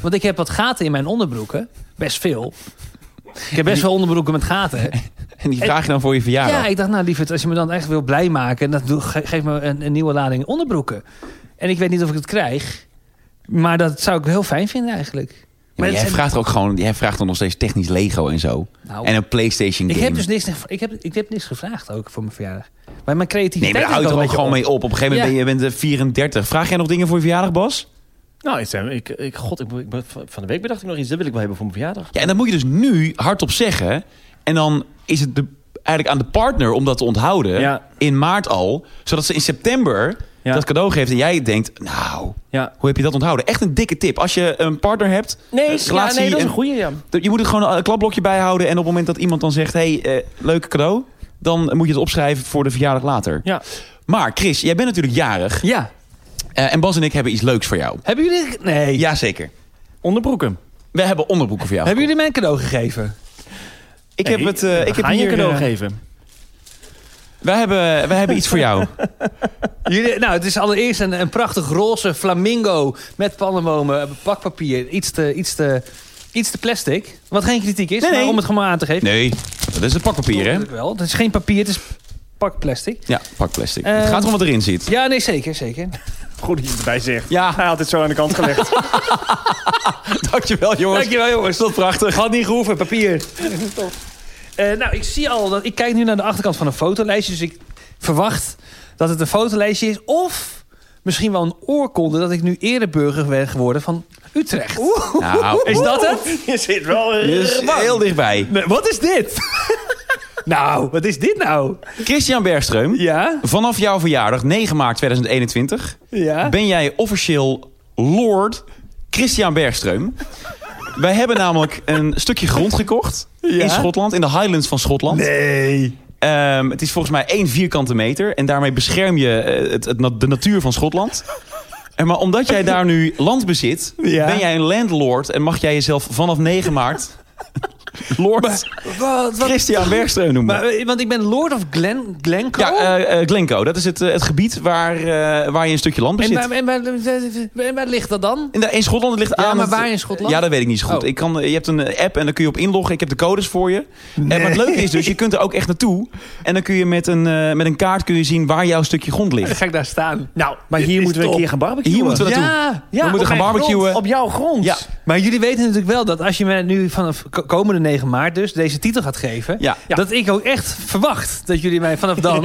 [SPEAKER 2] Want ik heb wat gaten in mijn onderbroeken. Best veel. Ik heb best wel onderbroeken met gaten.
[SPEAKER 1] En die vraag je dan voor je
[SPEAKER 2] Ja,
[SPEAKER 1] verjaardag.
[SPEAKER 2] ik dacht, nou lieverd, als je me dan echt wil blij maken... Dan doe, ge- geef me een, een nieuwe lading onderbroeken. En ik weet niet of ik het krijg. Maar dat zou ik heel fijn vinden eigenlijk.
[SPEAKER 1] Ja, maar
[SPEAKER 2] het
[SPEAKER 1] jij
[SPEAKER 2] zijn-
[SPEAKER 1] vraagt er ook gewoon, jij vraagt dan nog steeds technisch Lego en zo.
[SPEAKER 2] Nou.
[SPEAKER 1] en een PlayStation
[SPEAKER 2] Ik
[SPEAKER 1] game.
[SPEAKER 2] heb dus niks, ik heb, ik heb niks gevraagd ook voor mijn verjaardag. Maar mijn
[SPEAKER 1] Nee,
[SPEAKER 2] creativiteit
[SPEAKER 1] maar daar houdt
[SPEAKER 2] is
[SPEAKER 1] er
[SPEAKER 2] wel een
[SPEAKER 1] ook gewoon
[SPEAKER 2] beetje
[SPEAKER 1] mee op. Op een gegeven moment ben je bent eh, 34. Vraag jij nog dingen voor je verjaardag, Bas?
[SPEAKER 3] Nou, ik, ik, ik, god, ik, ik- van de week bedacht ik nog iets. Dat wil ik wel hebben voor mijn verjaardag.
[SPEAKER 1] Ja, en dat moet je dus nu hardop zeggen. En dan is het de, eigenlijk aan de partner om dat te onthouden.
[SPEAKER 3] Ja.
[SPEAKER 1] In maart al. Zodat ze in september
[SPEAKER 3] Ja.
[SPEAKER 1] dat cadeau geeft. En jij denkt, nou,
[SPEAKER 3] Ja.
[SPEAKER 1] hoe heb je dat onthouden? Echt een dikke tip. Als je een partner hebt.
[SPEAKER 3] Nee,
[SPEAKER 1] een
[SPEAKER 3] ja, nee dat is
[SPEAKER 1] en-
[SPEAKER 3] een goeie, ja.
[SPEAKER 1] Je moet er gewoon een eh, klapblokje bij houden. En op het moment dat iemand dan zegt, hé, hey, eh, leuk cadeau. Dan moet je het opschrijven voor de verjaardag later.
[SPEAKER 3] Ja.
[SPEAKER 1] Maar Chris, jij bent natuurlijk jarig.
[SPEAKER 2] op. Ja.
[SPEAKER 1] Eh, en Bas en ik hebben iets leuks voor jou.
[SPEAKER 2] Hebben jullie... Nee.
[SPEAKER 1] Jazeker.
[SPEAKER 3] Onderbroeken.
[SPEAKER 1] We hebben onderbroeken voor jou.
[SPEAKER 2] Hebben jullie mij een cadeau gegeven?
[SPEAKER 1] Ik heb
[SPEAKER 3] Nee,
[SPEAKER 1] het. eh,
[SPEAKER 3] we
[SPEAKER 1] ik heb
[SPEAKER 3] gaan
[SPEAKER 1] hier,
[SPEAKER 3] je cadeau
[SPEAKER 1] eh,
[SPEAKER 3] geven.
[SPEAKER 1] wij, hebben, wij hebben iets voor jou.
[SPEAKER 2] Jullie, nou, het is allereerst een, een prachtig roze flamingo met palmbomen, bakpapier, iets te, iets te, iets te plastic. Wat geen kritiek is,
[SPEAKER 1] Nee, nee.
[SPEAKER 2] maar om het gewoon maar aan te geven.
[SPEAKER 1] Nee, dat is het pakpapier, hè?
[SPEAKER 2] Natuurlijk wel. Het is geen papier, het is pakplastic.
[SPEAKER 1] Ja, pakplastic.
[SPEAKER 2] Eh,
[SPEAKER 1] het gaat om wat erin zit.
[SPEAKER 2] Ja, nee, zeker, zeker.
[SPEAKER 3] Goed dat je het erbij zegt.
[SPEAKER 1] Ja.
[SPEAKER 3] Hij had het zo aan de kant gelegd.
[SPEAKER 1] Dankjewel, jongens.
[SPEAKER 2] Dankjewel jongens, tot prachtig. Had niet gehoeven, papier. Eh, nou, ik zie al, dat, ik kijk nu naar de achterkant van een fotolijstje, dus ik verwacht dat het een fotolijstje is of misschien wel een oorkonde dat ik nu ereburger ben geworden van Utrecht.
[SPEAKER 1] Nou,
[SPEAKER 2] Is dat het?
[SPEAKER 3] je zit wel...
[SPEAKER 1] dus heel dichtbij.
[SPEAKER 2] Nee, wat is dit? nou, wat is dit nou?
[SPEAKER 1] Christian Bergström,
[SPEAKER 2] Ja,
[SPEAKER 1] vanaf jouw verjaardag, 9 maart 2021,
[SPEAKER 2] ja.
[SPEAKER 1] ben jij officieel Lord Christian Bergström. Wij hebben namelijk een stukje grond gekocht
[SPEAKER 2] Ja.
[SPEAKER 1] in Schotland, in de Highlands van Schotland.
[SPEAKER 2] Nee.
[SPEAKER 1] Ehm, het is volgens mij één vierkante meter. En daarmee bescherm je eh, het, het na- de natuur van Schotland. En maar omdat jij daar nu land bezit,
[SPEAKER 2] Ja.
[SPEAKER 1] ben jij een landlord. En mag jij jezelf vanaf 9 maart Lord
[SPEAKER 2] Wat, wat?
[SPEAKER 1] Christian Bergström noemen.
[SPEAKER 2] Maar, eh, want ik ben Lord of Glen, Glencoe?
[SPEAKER 1] ja, eh, eh, Glencoe, dat is het, eh, het gebied waar, eh, waar je een stukje land
[SPEAKER 2] en,
[SPEAKER 1] bezit.
[SPEAKER 2] waar, en, waar, en waar ligt dat dan?
[SPEAKER 1] In, de- in Schotland het ligt
[SPEAKER 2] Ja,
[SPEAKER 1] aan.
[SPEAKER 2] maar
[SPEAKER 1] het-
[SPEAKER 2] waar in Schotland?
[SPEAKER 1] Ja, dat weet ik niet zo goed.
[SPEAKER 2] Oh.
[SPEAKER 1] Ik kan, eh, je hebt een eh, app en dan kun je op inloggen. Ik heb de codes voor je. En wat leuk is dus, je kunt er ook echt naartoe. En dan kun je met een, eh, met een kaart kun je zien waar jouw stukje grond ligt.
[SPEAKER 2] ga ik daar staan.
[SPEAKER 3] Nou, maar
[SPEAKER 2] Dit
[SPEAKER 3] hier
[SPEAKER 2] is
[SPEAKER 3] moeten we een
[SPEAKER 2] top.
[SPEAKER 3] keer gaan barbecuen.
[SPEAKER 1] Hier moeten we naartoe.
[SPEAKER 2] Ja,
[SPEAKER 1] we moeten
[SPEAKER 3] op
[SPEAKER 1] gaan
[SPEAKER 3] mijn grond,
[SPEAKER 1] barbecuen.
[SPEAKER 3] Op jouw grond.
[SPEAKER 1] Ja.
[SPEAKER 2] Maar jullie weten natuurlijk wel dat als je mij nu vanaf ko- komende 9 maart dus deze titel gaat geven...
[SPEAKER 1] Ja. Ja.
[SPEAKER 2] dat ik ook echt verwacht dat jullie mij vanaf dan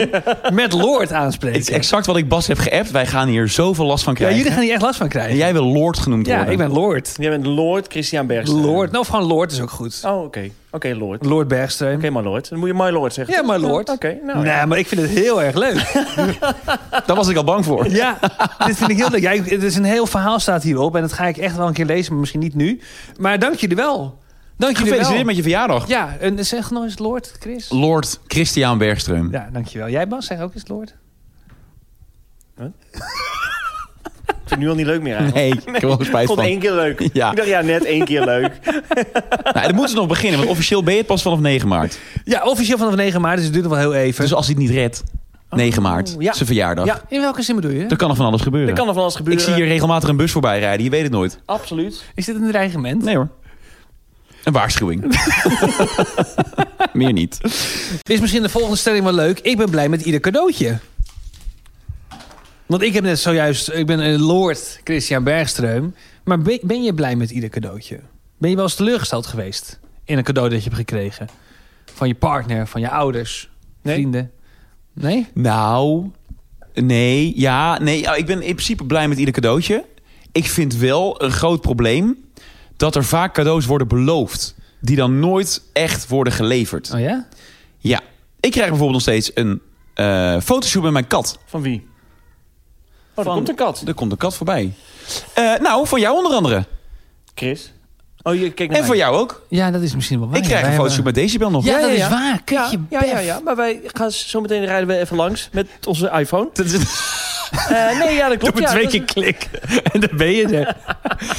[SPEAKER 2] met Lord
[SPEAKER 1] Het is
[SPEAKER 2] aanspreken.
[SPEAKER 1] exact wat ik Bas heb geappt. Wij gaan hier zoveel last van
[SPEAKER 2] ja,
[SPEAKER 1] krijgen.
[SPEAKER 2] jullie gaan hier echt last van krijgen.
[SPEAKER 1] En jij wil Lord genoemd
[SPEAKER 2] ja,
[SPEAKER 1] worden.
[SPEAKER 2] ik ben Lord.
[SPEAKER 3] Jij bent Lord Christian Bergström.
[SPEAKER 2] Lord. Nou, of gewoon Lord is ook goed.
[SPEAKER 3] Oh, oké. Oké, Lord. Oké,
[SPEAKER 2] Lord Bergström.
[SPEAKER 3] maar Lord. Dan moet je my Lord zeggen.
[SPEAKER 2] Ja, my lord.
[SPEAKER 3] Oké, nou
[SPEAKER 2] nee,
[SPEAKER 3] ja.
[SPEAKER 2] maar ik vind het heel erg leuk.
[SPEAKER 1] Daar was ik al bang voor.
[SPEAKER 2] Ja, dit vind ik heel leuk. Ja, ik- het is een heel verhaal staat hierop. En dat ga ik echt wel een keer lezen, maar misschien niet nu. Maar dank jullie wel. Dank jullie wel.
[SPEAKER 1] Gefeliciteerd met je verjaardag.
[SPEAKER 2] Ja, en zeg nog eens Lord, Chris.
[SPEAKER 1] Lord Christian Bergström.
[SPEAKER 2] Ja, dankjewel. Jij Bas, zeg ook eens Lord.
[SPEAKER 3] Ik vind het nu al niet leuk meer eigenlijk.
[SPEAKER 1] Nee, ik heb er wel spijt
[SPEAKER 3] Ik vond
[SPEAKER 1] van.
[SPEAKER 3] het één keer leuk.
[SPEAKER 1] Ja.
[SPEAKER 3] Ik dacht, ja, net één keer leuk.
[SPEAKER 1] Nou, dan moeten ze nog beginnen, want officieel ben je het pas vanaf 9 maart.
[SPEAKER 2] Ja, officieel vanaf 9 maart, dus het duurt nog wel heel even.
[SPEAKER 1] Dus als hij het niet redt, 9 maart,
[SPEAKER 2] ja.
[SPEAKER 1] zijn verjaardag.
[SPEAKER 2] ja, in welke zin bedoel je?
[SPEAKER 1] Dan kan er van alles gebeuren.
[SPEAKER 3] Er kan er van alles gebeuren.
[SPEAKER 1] ik zie hier regelmatig een bus voorbij rijden, je weet het nooit.
[SPEAKER 3] Absoluut.
[SPEAKER 2] Is dit een dreigement?
[SPEAKER 1] Nee hoor. Een waarschuwing. Meer niet.
[SPEAKER 2] Is misschien de volgende stelling wel leuk. Ik ben blij met ieder cadeautje. Want ik heb net zojuist, ik ben een lord Christian Bergström. Maar ben, ben je blij met ieder cadeautje? Ben je wel eens teleurgesteld geweest in een cadeau dat je hebt gekregen? Van je partner, van je ouders,
[SPEAKER 3] Nee.
[SPEAKER 2] vrienden? Nee?
[SPEAKER 1] Nou, nee, ja, nee. ja, Ik ben in principe blij met ieder cadeautje. Ik vind wel een groot probleem dat er vaak cadeaus worden beloofd... die dan nooit echt worden geleverd.
[SPEAKER 2] Oh ja?
[SPEAKER 1] Ja, ik krijg bijvoorbeeld nog steeds een eh fotoshoot met mijn kat.
[SPEAKER 3] Van wie? Oh, er
[SPEAKER 1] Van-
[SPEAKER 3] komt een kat.
[SPEAKER 1] Er komt een kat voorbij. Eh, nou, van jou onder andere.
[SPEAKER 3] Chris. Oh, je kijkt naar
[SPEAKER 1] En van jou ook.
[SPEAKER 2] Ja, dat is misschien wel waar.
[SPEAKER 1] Ik krijg
[SPEAKER 2] Wij
[SPEAKER 1] een
[SPEAKER 2] hebben-
[SPEAKER 1] fotoshoot met Decibel nog.
[SPEAKER 2] Ja,
[SPEAKER 3] Ja,
[SPEAKER 2] dat
[SPEAKER 3] ja,
[SPEAKER 2] is
[SPEAKER 3] ja.
[SPEAKER 2] waar. Kijk je
[SPEAKER 3] Ja, ja, ja, maar wij gaan zo meteen rijden we even langs met onze iPhone.
[SPEAKER 1] Dat is-
[SPEAKER 3] Eh, nee, ja, dat
[SPEAKER 2] Doe
[SPEAKER 3] klopt.
[SPEAKER 2] maar
[SPEAKER 3] ja,
[SPEAKER 2] twee
[SPEAKER 3] dat-
[SPEAKER 2] keer klik. En dan ben je er.
[SPEAKER 1] Ik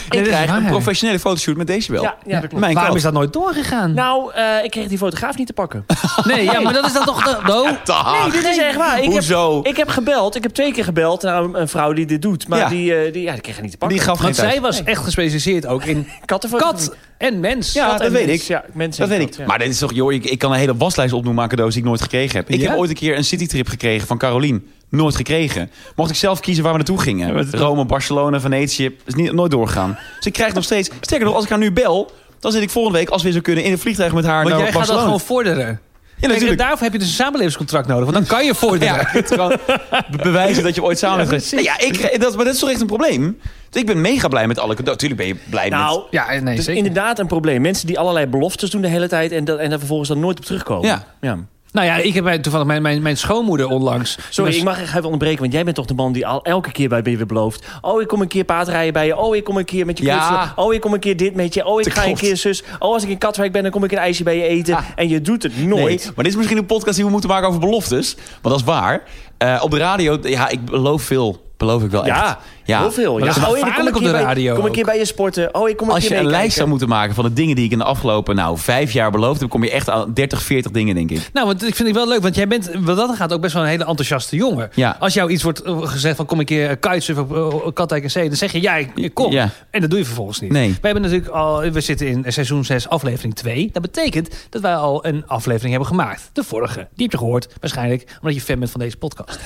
[SPEAKER 2] dat is
[SPEAKER 1] krijg een
[SPEAKER 2] waar.
[SPEAKER 1] professionele fotoshoot met deze wel.
[SPEAKER 3] Ja, ja, dat klopt.
[SPEAKER 1] Mijn
[SPEAKER 2] Waarom
[SPEAKER 1] kat.
[SPEAKER 2] is dat nooit doorgegaan?
[SPEAKER 3] Nou, eh, ik kreeg die fotograaf niet te pakken.
[SPEAKER 1] Ah.
[SPEAKER 2] nee, ja, maar dat is dan toch... de- No.
[SPEAKER 1] Dag.
[SPEAKER 3] Nee, dit is echt waar. Ik
[SPEAKER 1] Hoezo?
[SPEAKER 3] Heb, ik heb gebeld. Ik heb twee keer gebeld naar een, een vrouw die dit doet. Maar
[SPEAKER 1] Ja.
[SPEAKER 3] die, eh, die, ja, die kreeg het niet te pakken.
[SPEAKER 1] Die gaf geen
[SPEAKER 2] Want zij
[SPEAKER 1] tijd.
[SPEAKER 2] was echt gespecialiseerd ook in
[SPEAKER 3] Kattenfotografie.
[SPEAKER 2] kat en mens.
[SPEAKER 1] Ja,
[SPEAKER 3] Kat en
[SPEAKER 1] dat weet
[SPEAKER 3] mens.
[SPEAKER 1] ik.
[SPEAKER 3] Ja, mensen
[SPEAKER 1] Dat
[SPEAKER 3] en
[SPEAKER 1] weet ik.
[SPEAKER 3] kat, ja.
[SPEAKER 1] Maar dit is toch, joh, ik, ik kan een hele waslijst opnoemen aan cadeaus die ik nooit gekregen heb. Ik
[SPEAKER 2] Ja?
[SPEAKER 1] heb ooit een keer een citytrip gekregen van Carolien. Nooit gekregen. Mocht ik zelf kiezen waar we naartoe gingen. Rome, Barcelona, Venetië. Is niet, nooit doorgegaan. Dus ik krijg nog steeds... Sterker nog, als ik haar nu bel... dan zit ik volgende week, als we zo kunnen... in een vliegtuig met haar
[SPEAKER 2] Want
[SPEAKER 1] naar
[SPEAKER 2] jij gaat dat
[SPEAKER 1] Barcelona.
[SPEAKER 2] gewoon vorderen.
[SPEAKER 1] ja,
[SPEAKER 2] Kijk, en
[SPEAKER 1] natuurlijk.
[SPEAKER 2] daarvoor heb je dus een samenlevingscontract nodig. Want dan kan je vorderen.
[SPEAKER 1] Ja, het gewoon be- bewijzen dat je ooit samen bent geweest. Nee, Ja, ik, dat, maar dat is toch echt een probleem? Dus ik ben mega blij met alle cadeaus. Tuurlijk ben je blij met...
[SPEAKER 3] Nou,
[SPEAKER 2] Ja, nee,
[SPEAKER 3] dat is
[SPEAKER 2] zeker.
[SPEAKER 3] inderdaad een probleem. Mensen die allerlei beloftes doen de hele tijd... en, dat, en daar vervolgens dan nooit op terugkomen.
[SPEAKER 1] Ja.
[SPEAKER 2] Nou ja, ik heb mijn- toevallig mijn, mijn, mijn schoonmoeder onlangs...
[SPEAKER 3] Sorry,
[SPEAKER 2] die
[SPEAKER 3] ik
[SPEAKER 2] was-
[SPEAKER 3] mag echt even onderbreken, want jij bent toch de man die al elke keer bij je weer belooft. Oh, ik kom een keer paardrijden bij je. Oh, ik kom een keer met je
[SPEAKER 1] Ja.
[SPEAKER 3] knutselen. Oh, ik kom een keer dit met je. Oh, ik
[SPEAKER 1] Dat
[SPEAKER 3] ga
[SPEAKER 1] klopt.
[SPEAKER 3] een keer zus. Oh, als ik in Katwijk ben, dan kom ik een ijsje bij je eten. En je doet het nooit.
[SPEAKER 1] Nee, maar dit is misschien een podcast die we moeten maken over beloftes. Want dat is waar. Eh, op de radio, ja, ik beloof veel. Beloof ik wel
[SPEAKER 3] Ja,
[SPEAKER 1] echt.
[SPEAKER 3] heel veel.
[SPEAKER 2] Maar dat
[SPEAKER 3] ja.
[SPEAKER 2] is
[SPEAKER 3] oh, ik kom een
[SPEAKER 2] gevaarlijk op
[SPEAKER 3] keer
[SPEAKER 2] de
[SPEAKER 3] bij-
[SPEAKER 2] radio
[SPEAKER 3] Kom een keer
[SPEAKER 2] ook.
[SPEAKER 3] bij je sporten. Oh, ik kom een
[SPEAKER 1] Als
[SPEAKER 3] keer
[SPEAKER 1] je een
[SPEAKER 3] meekijken.
[SPEAKER 1] lijst zou moeten maken van de dingen die ik in de afgelopen nou, vijf jaar beloofd heb, kom je echt aan 30, 40 dingen, denk ik.
[SPEAKER 2] Nou, want ik vind het wel leuk, want jij bent, wat dat gaat, ook best wel een hele enthousiaste jongen.
[SPEAKER 1] Ja.
[SPEAKER 2] Als jou iets wordt eh, gezegd van kom een keer eh, kitesurfen op eh, Katwijk en Zee, dan zeg je ja, ik, ik kom.
[SPEAKER 1] Ja.
[SPEAKER 2] En dat doe je vervolgens niet.
[SPEAKER 1] Nee.
[SPEAKER 2] We hebben natuurlijk al, we zitten in seizoen 6, aflevering 2. Dat betekent dat wij al een aflevering hebben gemaakt. De vorige. Die heb je gehoord, waarschijnlijk, omdat je fan bent van deze podcast.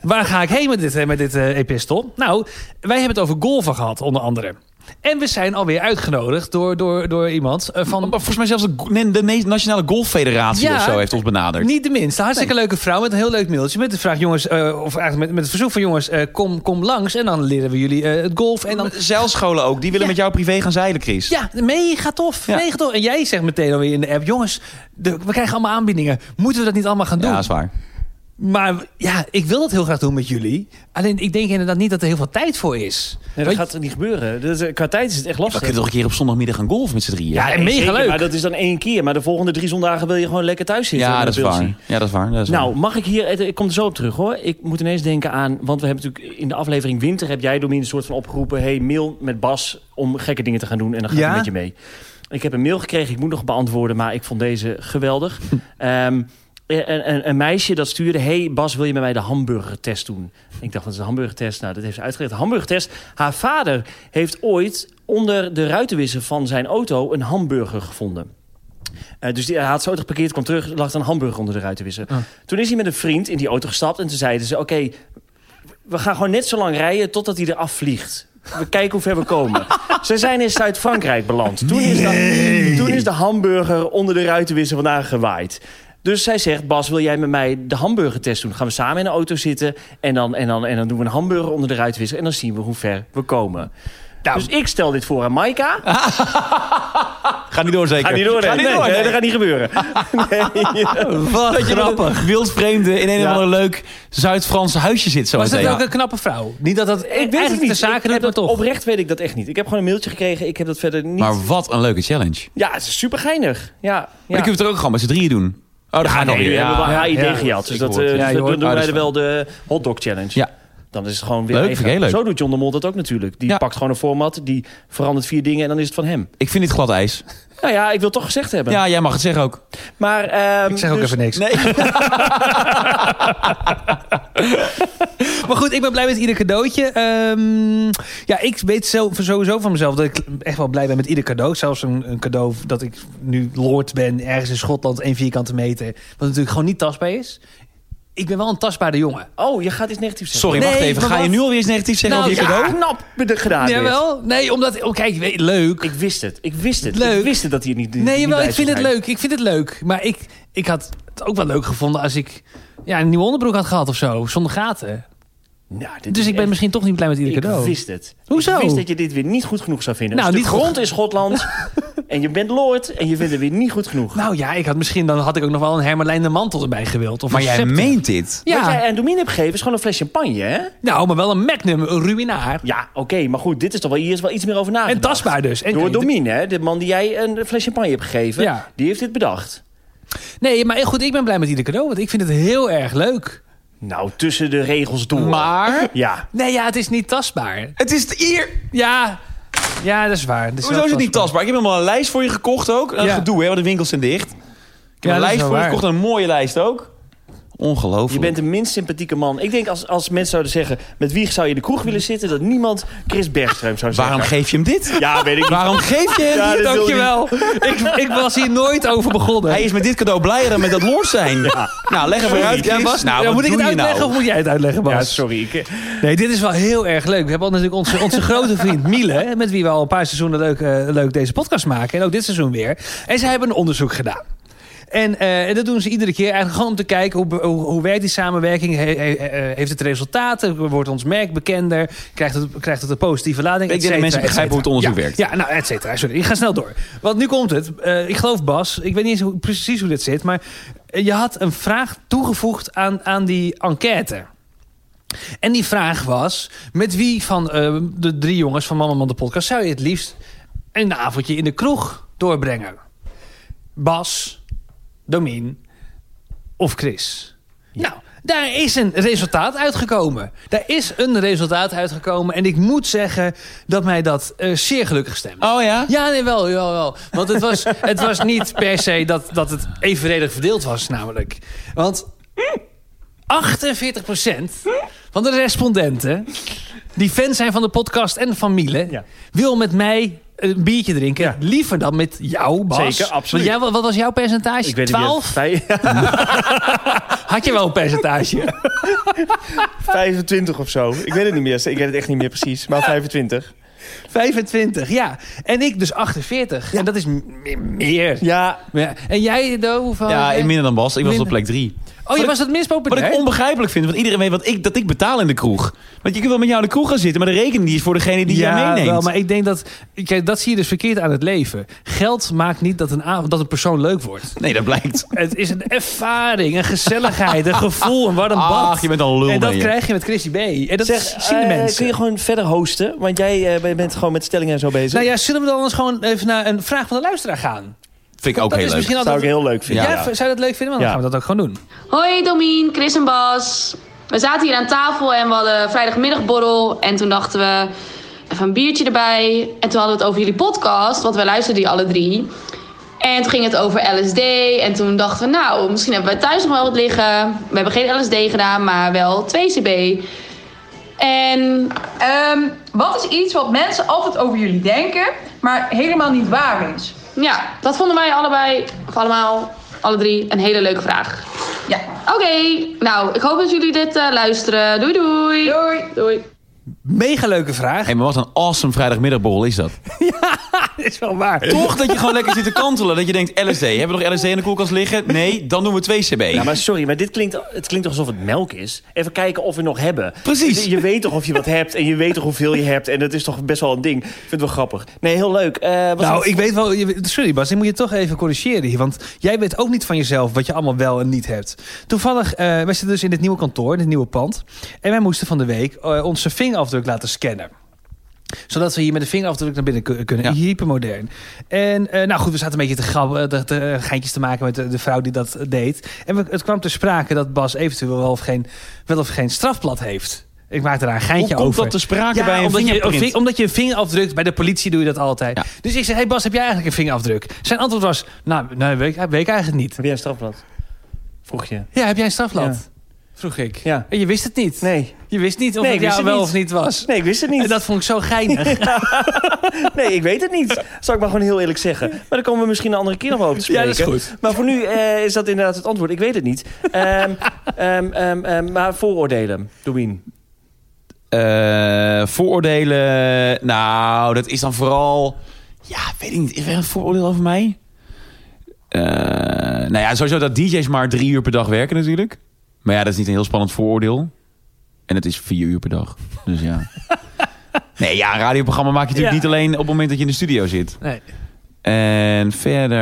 [SPEAKER 2] Waar ga ik heen met dit, eh, met dit eh, epistel? Nou, wij hebben het over golven gehad, onder andere. En we zijn alweer uitgenodigd door, door, door iemand eh, van...
[SPEAKER 1] Maar volgens mij zelfs de, go- nee, de ne- Nationale Golffederatie
[SPEAKER 2] Ja.
[SPEAKER 1] of zo heeft ons benaderd.
[SPEAKER 2] Niet de minste. Hartstikke leuke vrouw met een heel leuk mailtje. Met de vraag, jongens, eh, of eigenlijk met, met het verzoek van jongens, eh, kom, kom langs. En dan leren we jullie eh, het golf. En dan,
[SPEAKER 1] Zeilscholen ook, die willen
[SPEAKER 2] Ja.
[SPEAKER 1] met jou privé gaan zeilen, Chris.
[SPEAKER 2] ja, mega tof.
[SPEAKER 1] Ja.
[SPEAKER 2] Mega tof. En jij zegt meteen alweer in de app, jongens, de- we krijgen allemaal aanbiedingen. Moeten we dat niet allemaal gaan doen?
[SPEAKER 1] Ja, is waar.
[SPEAKER 2] Maar ja, ik wil dat heel graag doen met jullie. Alleen ik denk inderdaad niet dat er heel veel tijd voor is.
[SPEAKER 3] Nee, dat
[SPEAKER 2] Want-
[SPEAKER 3] gaat niet gebeuren. Dat is- qua tijd is het echt
[SPEAKER 1] We
[SPEAKER 3] lastig.
[SPEAKER 1] kunnen toch een keer op zondagmiddag gaan golfen met z'n drieën?
[SPEAKER 2] ja, en
[SPEAKER 3] Nee,
[SPEAKER 2] mega
[SPEAKER 3] zeker,
[SPEAKER 2] leuk.
[SPEAKER 3] Maar dat is dan één keer. Maar de volgende drie zondagen wil je gewoon lekker thuis zitten.
[SPEAKER 1] ja,
[SPEAKER 3] met
[SPEAKER 1] dat is
[SPEAKER 3] Wilson.
[SPEAKER 1] waar. ja, dat is waar. Dat is waar.
[SPEAKER 3] Nou, mag ik hier... Ik kom er zo op terug, hoor. Ik moet ineens denken aan... Want we hebben natuurlijk in de aflevering Winter... heb jij Domien een soort van opgeroepen... hey, mail met Bas om gekke dingen te gaan doen. En dan gaat
[SPEAKER 2] Ja?
[SPEAKER 3] hij met je mee. Ik heb een mail gekregen. Ik moet nog beantwoorden. Maar ik vond deze geweldig. Ehm, een, een, een meisje dat stuurde... hey Bas, wil je met mij de hamburgertest doen? Ik dacht, dat is een hamburgertest. Nou, dat heeft ze uitgelegd. Hamburgertest. Haar vader heeft ooit onder de ruitenwissen van zijn auto... een hamburger gevonden. Eh, dus die, hij had zo geparkeerd, kwam terug, lag een hamburger onder de ruitenwissen. Toen is hij met een vriend in die auto gestapt en toen zeiden ze... oké, we gaan gewoon net zo lang rijden totdat hij eraf vliegt. We kijken hoe ver we komen. ze zijn in Zuid-Frankrijk beland. Toen, is de, toen is de hamburger onder de ruitenwissen vandaan gewaaid. Dus zij zegt, Bas, wil jij met mij de hamburgertest doen? Gaan we samen in de auto zitten en dan, en dan, en dan doen we een hamburger onder de ruitenwissen... en dan zien we hoe ver we komen. Dus ik stel dit voor aan Maika.
[SPEAKER 1] Ga niet door zeker.
[SPEAKER 3] Ga niet door,
[SPEAKER 1] Ga
[SPEAKER 3] nee.
[SPEAKER 1] niet
[SPEAKER 3] Nee,
[SPEAKER 1] door,
[SPEAKER 3] nee,
[SPEAKER 1] nee.
[SPEAKER 3] dat gaat niet gebeuren.
[SPEAKER 2] Wat grappig.
[SPEAKER 1] Wildvreemde in een
[SPEAKER 3] Ja.
[SPEAKER 1] of ander leuk Zuid-Frans huisje zit zo
[SPEAKER 2] Was dat
[SPEAKER 1] meteen.
[SPEAKER 2] ook een knappe vrouw? Niet dat dat
[SPEAKER 3] Ik weet het
[SPEAKER 2] eigenlijk
[SPEAKER 3] niet.
[SPEAKER 2] de
[SPEAKER 3] Ik
[SPEAKER 2] zaken
[SPEAKER 3] heb
[SPEAKER 2] doet, maar
[SPEAKER 3] dat-
[SPEAKER 2] toch.
[SPEAKER 3] Oprecht weet ik dat echt niet. Ik heb gewoon een mailtje gekregen. Ik heb dat verder niet.
[SPEAKER 1] Maar wat een leuke challenge.
[SPEAKER 3] Ja, het is super geinig. Ja, ja.
[SPEAKER 1] Maar die kunnen we het er ook gewoon met z'n drieën doen. Oh, dat gaat nog
[SPEAKER 3] nee,
[SPEAKER 1] weer.
[SPEAKER 3] nu
[SPEAKER 1] Ja.
[SPEAKER 3] hebben we haar idee
[SPEAKER 2] ja.
[SPEAKER 3] gehad. Dus
[SPEAKER 1] Ik
[SPEAKER 3] dat,
[SPEAKER 1] hoor het.
[SPEAKER 3] eh,
[SPEAKER 2] Ja,
[SPEAKER 3] dus
[SPEAKER 2] je
[SPEAKER 3] dat
[SPEAKER 2] hoort
[SPEAKER 3] doen
[SPEAKER 1] het.
[SPEAKER 3] wij er wel de hotdog challenge.
[SPEAKER 1] Ja.
[SPEAKER 3] Dan is het gewoon weer
[SPEAKER 1] Leuk,
[SPEAKER 3] even.
[SPEAKER 1] vind ik heel leuk.
[SPEAKER 3] Zo doet John de Mol dat ook natuurlijk. Die
[SPEAKER 1] Ja.
[SPEAKER 3] pakt gewoon een format, die verandert vier dingen en dan is het van hem.
[SPEAKER 1] Ik vind dit glad ijs.
[SPEAKER 3] Nou ja, ik wil toch gezegd hebben.
[SPEAKER 1] Ja, jij mag het zeggen ook.
[SPEAKER 3] Maar, ehm,
[SPEAKER 2] Ik zeg ook
[SPEAKER 3] dus-
[SPEAKER 2] even niks.
[SPEAKER 1] Nee.
[SPEAKER 2] Maar goed, ik ben blij met ieder cadeautje. Ehm, ja, ik weet zelf, sowieso van mezelf dat ik echt wel blij ben met ieder cadeau. Zelfs een, een cadeau dat ik nu lord ben, ergens in Schotland, één vierkante meter. Wat natuurlijk gewoon niet tastbaar is. Ik ben wel een tastbare jongen.
[SPEAKER 3] Oh, je gaat iets negatiefs zeggen.
[SPEAKER 1] Sorry, wacht
[SPEAKER 2] Nee,
[SPEAKER 1] even.
[SPEAKER 2] maar
[SPEAKER 1] Ga je
[SPEAKER 2] wat?
[SPEAKER 1] nu alweer eens negatief zeggen
[SPEAKER 2] Nou,
[SPEAKER 1] over je
[SPEAKER 2] ja.
[SPEAKER 1] cadeau?
[SPEAKER 3] Knap be- gedaan. Ah, dit.
[SPEAKER 2] Jawel? Nee, omdat... Oh, kijk, weet- leuk.
[SPEAKER 3] Ik wist het. Ik wist het.
[SPEAKER 2] Leuk.
[SPEAKER 3] Ik wist het dat hij het niet.
[SPEAKER 2] nee,
[SPEAKER 3] niet
[SPEAKER 2] jawel,
[SPEAKER 3] bij
[SPEAKER 2] ik
[SPEAKER 3] zou
[SPEAKER 2] vind het
[SPEAKER 3] zijn.
[SPEAKER 2] leuk. Ik vind het leuk. Maar ik, ik had het ook wel leuk gevonden als ik ja, een nieuwe onderbroek had gehad of zo. Zonder gaten.
[SPEAKER 3] Nou, dit
[SPEAKER 2] Dus
[SPEAKER 3] is
[SPEAKER 2] ik ben
[SPEAKER 3] echt-
[SPEAKER 2] misschien toch niet blij met ieder
[SPEAKER 3] Ik
[SPEAKER 2] cadeau.
[SPEAKER 3] wist het.
[SPEAKER 2] Hoezo?
[SPEAKER 3] Ik wist dat je dit weer niet goed genoeg zou vinden.
[SPEAKER 2] Nou,
[SPEAKER 3] Nou, dus
[SPEAKER 2] niet
[SPEAKER 3] de
[SPEAKER 2] goed
[SPEAKER 3] grond is Schotland. en je bent Lord. En je vindt het weer niet goed genoeg.
[SPEAKER 2] Nou ja, ik had misschien dan had ik ook nog wel een Hermelijn de mantel erbij gewild. Of
[SPEAKER 1] Maar
[SPEAKER 2] een
[SPEAKER 1] jij
[SPEAKER 2] scepter.
[SPEAKER 1] meent dit.
[SPEAKER 2] Ja,
[SPEAKER 3] Wat jij aan Domien hebt gegeven is gewoon een fles champagne, hè?
[SPEAKER 2] nou, maar wel een Magnum, een Ruinaar.
[SPEAKER 3] Ja, oké. maar goed, dit is toch wel, hier is wel iets meer over nagedacht.
[SPEAKER 2] En tastbaar dus. En
[SPEAKER 3] Door Domien, hè? De man die jij een fles champagne hebt gegeven.
[SPEAKER 2] Ja.
[SPEAKER 3] Die heeft dit bedacht.
[SPEAKER 2] Nee, maar goed, ik ben blij met ieder cadeau. Want ik vind het heel erg leuk.
[SPEAKER 3] Nou, tussen de regels door.
[SPEAKER 2] Maar?
[SPEAKER 3] Ja.
[SPEAKER 2] Nee, ja, het is niet tastbaar.
[SPEAKER 1] Het is hier.
[SPEAKER 2] Ja, ja dat is waar. Het
[SPEAKER 1] Hoezo
[SPEAKER 2] wel
[SPEAKER 1] is het niet tastbaar? Ik heb helemaal een lijst voor je gekocht ook. Dat
[SPEAKER 2] Ja.
[SPEAKER 1] gedoe, hè, want de winkels zijn dicht. Ik heb
[SPEAKER 2] dat
[SPEAKER 1] een
[SPEAKER 2] is
[SPEAKER 1] lijst
[SPEAKER 2] wel
[SPEAKER 1] voor je
[SPEAKER 2] waar.
[SPEAKER 1] gekocht, en een mooie lijst ook. Ongelooflijk.
[SPEAKER 3] Je bent de minst sympathieke man. Ik denk als, als mensen zouden zeggen... met wie zou je in de kroeg willen zitten... dat niemand Chris Bergström zou zeggen.
[SPEAKER 1] Waarom geef je hem dit?
[SPEAKER 3] Ja, weet ik niet.
[SPEAKER 1] Waarom geef je hem
[SPEAKER 3] Ja,
[SPEAKER 1] dit?
[SPEAKER 3] dit wil
[SPEAKER 2] Dankjewel. ik, ik was hier nooit over begonnen.
[SPEAKER 1] Hij is met dit cadeau blijer dan met dat lord zijn. Nou, leg even uit, Chris.
[SPEAKER 2] ja, Bas,
[SPEAKER 1] nou,
[SPEAKER 2] ja,
[SPEAKER 1] wat
[SPEAKER 2] moet ik
[SPEAKER 1] doe
[SPEAKER 2] het
[SPEAKER 1] je nou?
[SPEAKER 2] uitleggen of moet jij het uitleggen, Bas?
[SPEAKER 3] Ja, sorry. Ik,
[SPEAKER 2] Nee, dit is wel heel erg leuk. We hebben al natuurlijk onze, onze grote vriend Miele, hè, met wie we al een paar seizoenen leuk, eh, leuk deze podcast maken. En ook dit seizoen weer. En zij hebben een onderzoek gedaan. En eh, en dat doen ze iedere keer eigenlijk gewoon om te kijken hoe, be- hoe, hoe werkt die samenwerking. He- he- eh, heeft het resultaten? Wordt ons merk bekender? Krijgt het, krijgt het een positieve lading?
[SPEAKER 1] Ik denk
[SPEAKER 2] Et
[SPEAKER 1] dat mensen
[SPEAKER 2] cetera, et
[SPEAKER 1] begrijpen hoe het
[SPEAKER 2] cetera.
[SPEAKER 1] onderzoek
[SPEAKER 2] Ja,
[SPEAKER 1] werkt.
[SPEAKER 2] Ja, nou, et cetera. Sorry, ik ga snel door. Want nu komt het. Eh, ik geloof Bas, ik weet niet eens hoe, precies hoe dit zit, maar eh, je had een vraag toegevoegd aan, aan die enquête. En die vraag was: met wie van eh, de drie jongens van Mama Man de podcast zou je het liefst een avondje in de kroeg doorbrengen? Bas, Domien of Chris? Nou, daar is een resultaat uitgekomen. Daar is een resultaat uitgekomen. En ik moet zeggen dat mij dat eh, zeer gelukkig stemt.
[SPEAKER 1] Oh ja?
[SPEAKER 2] Ja, nee, wel, wel, wel. Want het was, het was niet per se dat, dat het evenredig verdeeld was, namelijk. Want
[SPEAKER 1] Mm.
[SPEAKER 2] 48% van de respondenten, die fan zijn van de podcast en van Miele,
[SPEAKER 3] Ja.
[SPEAKER 2] wil met mij een biertje drinken. Liever dan met jou, Bas.
[SPEAKER 3] Zeker, absoluut.
[SPEAKER 2] Want jij, wat was jouw percentage?
[SPEAKER 3] ik weet niet
[SPEAKER 2] 12?
[SPEAKER 3] meer. Vij-
[SPEAKER 2] Had je wel een percentage?
[SPEAKER 3] 25 of zo. Ik weet het niet meer. Ik weet het echt niet meer precies. Maar 25.
[SPEAKER 2] 25, ja. En ik dus 48. En dat is m- meer- meer.
[SPEAKER 3] Ja,
[SPEAKER 2] Ja. En jij, Do, hoeveel?
[SPEAKER 1] Ja, in minder dan Bas. Ik was op
[SPEAKER 2] Minder.
[SPEAKER 1] plek drie.
[SPEAKER 2] Oh, je was het minst
[SPEAKER 1] Wat
[SPEAKER 2] populair?
[SPEAKER 1] ik onbegrijpelijk vind, want iedereen weet wat ik, dat ik betaal in de kroeg. Want je kunt wel met jou in de kroeg gaan zitten, maar de rekening die is voor degene die jij meeneemt.
[SPEAKER 2] wel, maar ik denk dat... Kijk, dat zie je dus verkeerd aan het leven. Geld maakt niet dat een, avond- dat een persoon leuk wordt.
[SPEAKER 1] Nee, dat blijkt.
[SPEAKER 2] Het is een ervaring, een gezelligheid, een gevoel, een warm bad.
[SPEAKER 1] Ach, je bent al een lul.
[SPEAKER 2] en dat
[SPEAKER 1] ben je.
[SPEAKER 2] krijg je met Christy B. En dat
[SPEAKER 3] zeg,
[SPEAKER 2] zien de
[SPEAKER 3] eh,
[SPEAKER 2] mensen.
[SPEAKER 3] kun je gewoon verder hosten? Want jij eh, bent gewoon met stellingen en zo bezig.
[SPEAKER 2] Nou ja, zullen we dan anders gewoon even naar een vraag van de luisteraar gaan?
[SPEAKER 1] Vind ik ook
[SPEAKER 2] dat
[SPEAKER 1] heel
[SPEAKER 2] is
[SPEAKER 1] leuk.
[SPEAKER 2] misschien
[SPEAKER 3] dat zou ik
[SPEAKER 2] altijd...
[SPEAKER 3] heel leuk vinden.
[SPEAKER 2] Ja, v- zou je dat leuk vinden? Want dan
[SPEAKER 3] Ja.
[SPEAKER 2] gaan we dat ook gewoon doen.
[SPEAKER 7] Hoi Domien, Chris en Bas. We zaten hier aan tafel en we hadden vrijdagmiddagborrel. En toen dachten we, even een biertje erbij. En toen hadden we het over jullie podcast, want wij luisterden die alle drie. En toen ging het over LSD. En toen dachten we, nou, misschien hebben we thuis nog wel wat liggen. We hebben geen LSD gedaan, maar wel 2CB. En
[SPEAKER 8] Ehm, wat is iets wat mensen altijd over jullie denken, maar helemaal niet waar is?
[SPEAKER 7] ja, dat vonden wij allebei, of allemaal, alle drie, een hele leuke vraag.
[SPEAKER 8] Ja.
[SPEAKER 7] Oké, nou, ik hoop dat jullie dit eh, luisteren. Doei doei!
[SPEAKER 8] Doei.
[SPEAKER 7] Doei!
[SPEAKER 2] Mega leuke vraag.
[SPEAKER 1] Hé, maar wat een awesome vrijdagmiddagborrel is dat.
[SPEAKER 2] is wel waar.
[SPEAKER 1] Toch dat je gewoon lekker zit te kantelen. Dat je denkt, LSD, hebben we nog LSD in de koelkast liggen? Nee, dan doen we 2 CB.
[SPEAKER 3] Ja, maar sorry, maar dit klinkt, het klinkt alsof het melk is. Even kijken of we nog hebben.
[SPEAKER 1] Precies.
[SPEAKER 3] Je, je weet toch of je wat hebt en je weet toch hoeveel je hebt. En dat is toch best wel een ding. Ik vind het wel grappig. Nee, heel leuk. Eh, wat
[SPEAKER 2] Nou,
[SPEAKER 3] was-
[SPEAKER 2] ik weet wel... je- Sorry Bas, ik moet je toch even corrigeren hier. Want jij weet ook niet van jezelf wat je allemaal wel en niet hebt. Toevallig, eh wij zitten dus in dit nieuwe kantoor, in dit nieuwe pand. En wij moesten van de week eh, onze vingerafdruk laten scannen. Zodat we hier met de vingerafdruk naar binnen ku- kunnen.
[SPEAKER 1] Ja.
[SPEAKER 2] Hypermodern. En eh, nou goed, we zaten een beetje te grappen, te, te- geintjes te maken met de, de vrouw die dat deed. En we- het kwam ter sprake dat Bas eventueel wel of geen, wel of geen strafblad heeft. Ik maak daar een
[SPEAKER 1] Hoe
[SPEAKER 2] geintje
[SPEAKER 1] komt
[SPEAKER 2] over
[SPEAKER 1] dat te sprake bij een
[SPEAKER 2] omdat je,
[SPEAKER 1] vingerprint?
[SPEAKER 2] ving- omdat je een vingerafdruk, bij de politie doe je dat altijd.
[SPEAKER 1] Ja.
[SPEAKER 2] Dus ik zei, hey Bas, heb jij eigenlijk een vingerafdruk? Zijn antwoord was, nou, nee, weet, ik- weet ik eigenlijk niet.
[SPEAKER 3] Heb jij een strafblad? Vroeg je.
[SPEAKER 2] Ja, heb jij een strafblad? Vroeg ik.
[SPEAKER 3] Ja.
[SPEAKER 2] En je wist het niet.
[SPEAKER 3] Nee.
[SPEAKER 2] Je wist niet of
[SPEAKER 3] Nee,
[SPEAKER 2] het
[SPEAKER 3] ik wist
[SPEAKER 2] jou
[SPEAKER 3] het
[SPEAKER 2] wel
[SPEAKER 3] niet.
[SPEAKER 2] of niet was.
[SPEAKER 3] Nee, ik wist het niet.
[SPEAKER 2] En dat vond ik zo geinig.
[SPEAKER 3] Nee, ik weet het niet. Zal ik maar gewoon heel eerlijk zeggen. Maar dan komen we misschien een andere keer nog wel op te
[SPEAKER 2] Ja,
[SPEAKER 3] spreken.
[SPEAKER 2] dat is goed.
[SPEAKER 3] Maar voor nu eh, is dat inderdaad het antwoord. Ik weet het niet. Ehm, ehm, ehm, ehm, maar vooroordelen, Domien.
[SPEAKER 1] Eh, vooroordelen. Nou, dat is dan vooral. Ja, weet ik niet. Is er een vooroordeel over mij? Eh, nou ja, sowieso dat DJ's maar drie uur per dag werken, natuurlijk. Maar ja, dat is niet een heel spannend vooroordeel. En het is vier uur per dag. Dus ja. Nee, ja, een radioprogramma maak je natuurlijk
[SPEAKER 2] Ja.
[SPEAKER 1] niet alleen op het moment dat je in de studio zit.
[SPEAKER 2] Nee.
[SPEAKER 1] En verder.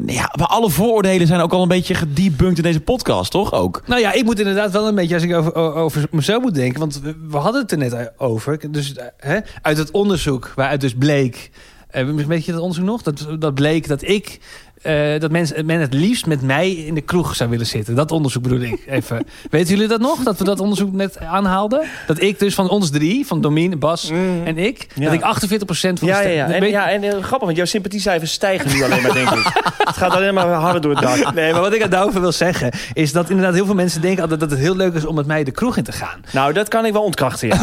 [SPEAKER 1] nou Ja, maar alle vooroordelen zijn ook al een beetje gedebunked in deze podcast, toch? Ook.
[SPEAKER 2] Nou ja, ik moet inderdaad wel een beetje, als ik over, o- over mezelf moet denken, want we, we hadden het er net over. Dus eh, hè, uit het onderzoek waaruit dus bleek, eh, weet je dat onderzoek nog? Dat, dat bleek dat ik eh, dat mensen men het liefst met mij in de kroeg zou willen zitten. Dat onderzoek bedoel ik even. Weten jullie dat nog? Dat we dat onderzoek net aanhaalden? Dat ik dus van ons drie, van Domien, Bas
[SPEAKER 3] Mm.
[SPEAKER 2] en ik,
[SPEAKER 3] Ja.
[SPEAKER 2] dat ik 48 van de
[SPEAKER 3] Ja, ja,
[SPEAKER 2] stem-
[SPEAKER 3] ja. En,
[SPEAKER 2] Weet-
[SPEAKER 3] ja, en eh, grappig, want jouw sympathiecijfers stijgen nu alleen maar, denk ik. Het gaat alleen maar harder door het dak.
[SPEAKER 2] Nee, maar wat ik er daarover wil zeggen, is dat inderdaad heel veel mensen denken altijd dat het heel leuk is om met mij de kroeg in te gaan.
[SPEAKER 3] Nou, dat kan ik wel ontkrachten, ja.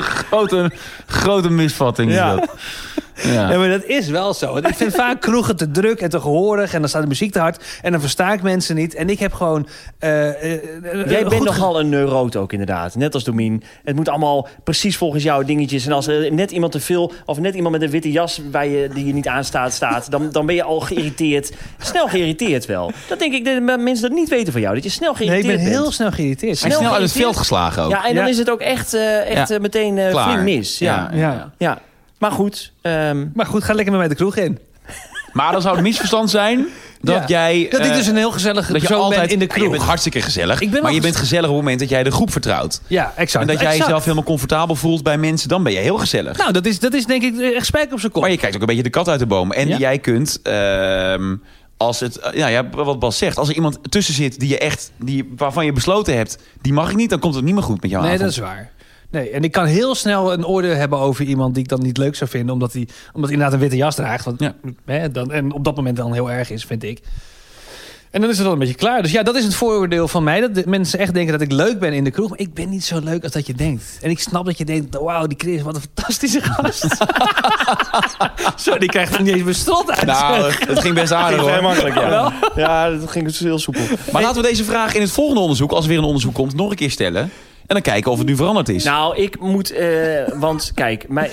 [SPEAKER 1] Grote, grote misvatting. is
[SPEAKER 3] Ja.
[SPEAKER 1] dat. Ja.
[SPEAKER 2] Ja, maar dat is wel zo. Want Ik vind vaak kroegen te druk en te gehoorig. En dan staat de muziek te hard. En dan versta ik mensen niet. En ik heb gewoon... eh, eh, eh,
[SPEAKER 3] Jij
[SPEAKER 2] goed
[SPEAKER 3] bent
[SPEAKER 2] ge-
[SPEAKER 3] nogal een neuroot ook inderdaad. Net als Domien. Het moet allemaal precies volgens jouw dingetjes. En als er net iemand te veel of net iemand met een witte jas bij je, die je niet aanstaat staat... Dan, dan ben je al geïrriteerd. Snel geïrriteerd wel. Dat denk ik dat mensen dat niet weten van jou. Dat je snel
[SPEAKER 2] Nee, ik
[SPEAKER 3] geïrriteerd
[SPEAKER 2] ben heel
[SPEAKER 3] bent.
[SPEAKER 2] snel geïrriteerd.
[SPEAKER 1] Hij is
[SPEAKER 3] snel
[SPEAKER 1] snel uit het
[SPEAKER 3] geïrriteerd.
[SPEAKER 1] veld geslagen ook.
[SPEAKER 3] Ja, en dan
[SPEAKER 2] Ja.
[SPEAKER 3] is het ook echt, eh, echt
[SPEAKER 1] Ja.
[SPEAKER 3] eh, meteen eh
[SPEAKER 1] Klaar.
[SPEAKER 3] flink mis. Ja.
[SPEAKER 1] Ja.
[SPEAKER 2] Ja.
[SPEAKER 3] Ja. Maar goed, ehm,
[SPEAKER 2] Maar goed, ga lekker met mij de kroeg in.
[SPEAKER 1] Maar dan zou het misverstand zijn dat
[SPEAKER 2] Ja.
[SPEAKER 1] jij...
[SPEAKER 2] Dat ik
[SPEAKER 1] eh,
[SPEAKER 2] dus een heel gezellig
[SPEAKER 1] dat je
[SPEAKER 2] persoon
[SPEAKER 1] altijd
[SPEAKER 2] ben in de
[SPEAKER 1] Je bent
[SPEAKER 2] kroeg.
[SPEAKER 1] hartstikke gezellig.
[SPEAKER 2] Ik ben wel
[SPEAKER 1] maar je
[SPEAKER 2] gez-
[SPEAKER 1] bent gezellig op het moment dat jij de groep vertrouwt.
[SPEAKER 2] Ja, exact.
[SPEAKER 1] En dat jij
[SPEAKER 2] exact.
[SPEAKER 1] jezelf helemaal comfortabel voelt bij mensen, dan ben je heel gezellig.
[SPEAKER 2] Nou, dat is, dat is denk ik echt spijk op zijn kop.
[SPEAKER 1] Maar je kijkt ook een beetje de kat uit de boom. En
[SPEAKER 2] Ja.
[SPEAKER 1] jij kunt, ehm, als het, eh, nou ja, wat Bas zegt, als er iemand tussen zit die je echt, die, waarvan je besloten hebt, die mag ik niet, dan komt het niet meer goed met jou.
[SPEAKER 2] Nee, dat is waar. Nee, en ik kan heel snel een oordeel hebben over iemand die ik dan niet leuk zou vinden, omdat hij omdat hij inderdaad een witte jas draagt. Wat,
[SPEAKER 1] Ja.
[SPEAKER 2] hè, dan, en op dat moment dan heel erg is, vind ik. En dan is het al een beetje klaar. Dus ja, dat is het vooroordeel van mij. Dat de mensen echt denken dat ik leuk ben in de kroeg. Maar ik ben niet zo leuk als dat je denkt. En ik snap dat je denkt, wauw, die Chris, wat een fantastische gast. zo, die krijgt er niet eens mijn strot uit.
[SPEAKER 1] Nou, het ging best aardig
[SPEAKER 3] heel
[SPEAKER 1] hoor.
[SPEAKER 3] makkelijk. Ja. ja, dat ging dus heel soepel.
[SPEAKER 1] Maar laten we deze vraag in het volgende onderzoek, als er weer een onderzoek komt, nog een keer stellen. En dan kijken of het nu veranderd is.
[SPEAKER 3] Nou, ik moet. eh, want kijk, mij,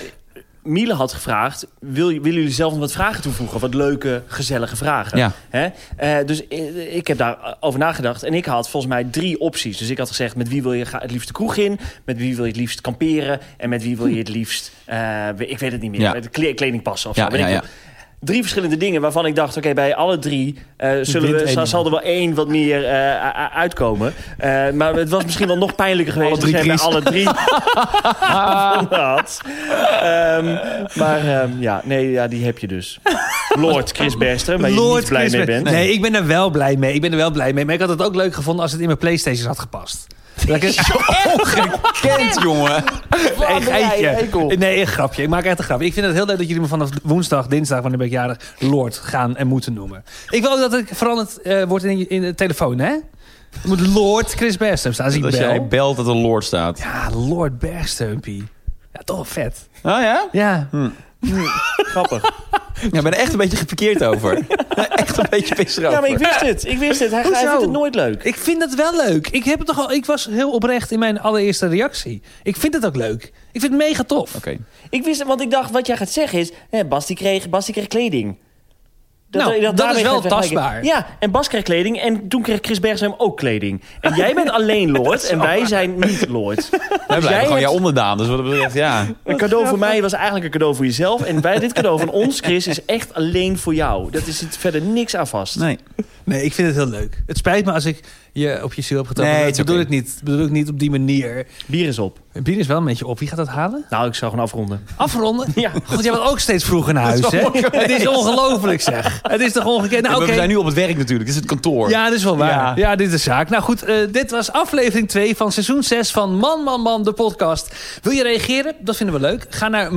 [SPEAKER 3] Miele had gevraagd: wil, willen jullie zelf nog wat vragen toevoegen? Wat leuke, gezellige vragen.
[SPEAKER 1] Ja.
[SPEAKER 3] Hè? Eh, dus eh, ik heb daarover nagedacht. En ik had volgens mij drie opties. Dus ik had gezegd: met wie wil je ga- het liefst de kroeg in? Met wie wil je het liefst kamperen? En met wie wil je het liefst. eh, we- ik weet het niet meer.
[SPEAKER 1] Ja.
[SPEAKER 3] Met kle- kleding passen of
[SPEAKER 1] Ja,
[SPEAKER 3] zo. weet
[SPEAKER 1] ja,
[SPEAKER 3] ik
[SPEAKER 1] ja.
[SPEAKER 3] veel. Drie verschillende dingen waarvan ik dacht: oké, bij alle drie eh, zullen
[SPEAKER 2] wint
[SPEAKER 3] we,
[SPEAKER 2] één.
[SPEAKER 3] zal, zal er wel één wat meer eh, a- a- uitkomen. Eh, maar het was misschien wel nog pijnlijker geweest
[SPEAKER 1] drie
[SPEAKER 3] als jij bij
[SPEAKER 1] Chris.
[SPEAKER 3] alle drie had. Ehm, maar ehm, ja, nee, ja, die heb je dus. Lord Chris Berster, waar je niet blij mee
[SPEAKER 2] Chris-
[SPEAKER 3] bent.
[SPEAKER 2] Nee, ik ben er wel blij mee. Ik ben er wel blij mee. Maar ik had het ook leuk gevonden als het in mijn Playstation had gepast. Dat ik-
[SPEAKER 1] Kent, jongen.
[SPEAKER 2] Een geitje.
[SPEAKER 3] een eikel.
[SPEAKER 2] Nee, een grapje. Ik maak echt een grapje. Ik vind het heel leuk dat jullie me vanaf woensdag, dinsdag, wanneer ben ik jarig, Lord gaan en moeten noemen. Ik wil ook dat ik veranderd eh word in, in de telefoon, hè? Het moet Lord Chris Bergstump staan. Als ik
[SPEAKER 1] Als
[SPEAKER 2] bel.
[SPEAKER 1] jij belt dat er Lord staat.
[SPEAKER 2] Ja, Lord Bergstumpie. Ja, toch wel vet.
[SPEAKER 1] Oh ja?
[SPEAKER 2] Ja.
[SPEAKER 3] Grappig.
[SPEAKER 1] Ja, ik ben er echt een beetje geparkeerd over. echt een beetje pissig over.
[SPEAKER 3] Ja, maar ik wist het. Ik wist het. Hij, hij
[SPEAKER 2] Hoezo?
[SPEAKER 3] vindt het nooit leuk.
[SPEAKER 2] Ik vind het wel leuk. Ik, heb het toch al, ik was heel oprecht in mijn allereerste reactie. Ik vind het ook leuk. Ik vind het mega tof.
[SPEAKER 1] Oké.
[SPEAKER 3] Ik wist het, want ik dacht, wat jij gaat zeggen is... Hè, Bas, die kreeg, Bas die kreeg kleding.
[SPEAKER 2] Nou,
[SPEAKER 3] ik
[SPEAKER 2] dat
[SPEAKER 3] daarmee
[SPEAKER 2] is wel
[SPEAKER 3] gaat vergelijken.
[SPEAKER 2] tastbaar.
[SPEAKER 3] Ja, en Bas kreeg kleding en toen kreeg Chris Bergström ook kleding. En jij bent alleen Lord en wij zijn niet Lord.
[SPEAKER 1] Wij
[SPEAKER 3] jij
[SPEAKER 1] blijven gewoon
[SPEAKER 3] hebt-
[SPEAKER 1] jouw onderdaan, dus wat dat betreft, ja.
[SPEAKER 3] Een cadeau voor mij was eigenlijk een cadeau voor jezelf. En bij dit cadeau van ons, Chris, is echt alleen voor jou. Dat is het verder niks aan vast.
[SPEAKER 1] Nee.
[SPEAKER 2] Nee, ik vind het heel leuk. Het spijt me als ik je op je ziel heb getrokken.
[SPEAKER 1] Nee,
[SPEAKER 2] Nee,
[SPEAKER 1] het
[SPEAKER 2] dat
[SPEAKER 1] is
[SPEAKER 2] bedoel
[SPEAKER 1] oké.
[SPEAKER 2] ik niet. Dat bedoel ik niet op die manier.
[SPEAKER 3] Bier is op.
[SPEAKER 2] Bier is wel een beetje op. Wie gaat dat halen?
[SPEAKER 3] Nou, ik zou gewoon afronden.
[SPEAKER 2] Afronden? Ja. Goed, jij bent ook steeds vroeger naar huis, hè? Het is ongelooflijk, zeg. Het is toch ongekend? Nou,
[SPEAKER 1] We-
[SPEAKER 2] oké.
[SPEAKER 1] We zijn nu op het werk natuurlijk, dit is het kantoor.
[SPEAKER 2] Ja, dat is wel waar.
[SPEAKER 1] Ja.
[SPEAKER 2] Ja, dit is de zaak. Nou goed, eh, dit was aflevering 2 van seizoen 6 van Man Man Man, de podcast. Wil je reageren? Dat vinden we leuk. Ga naar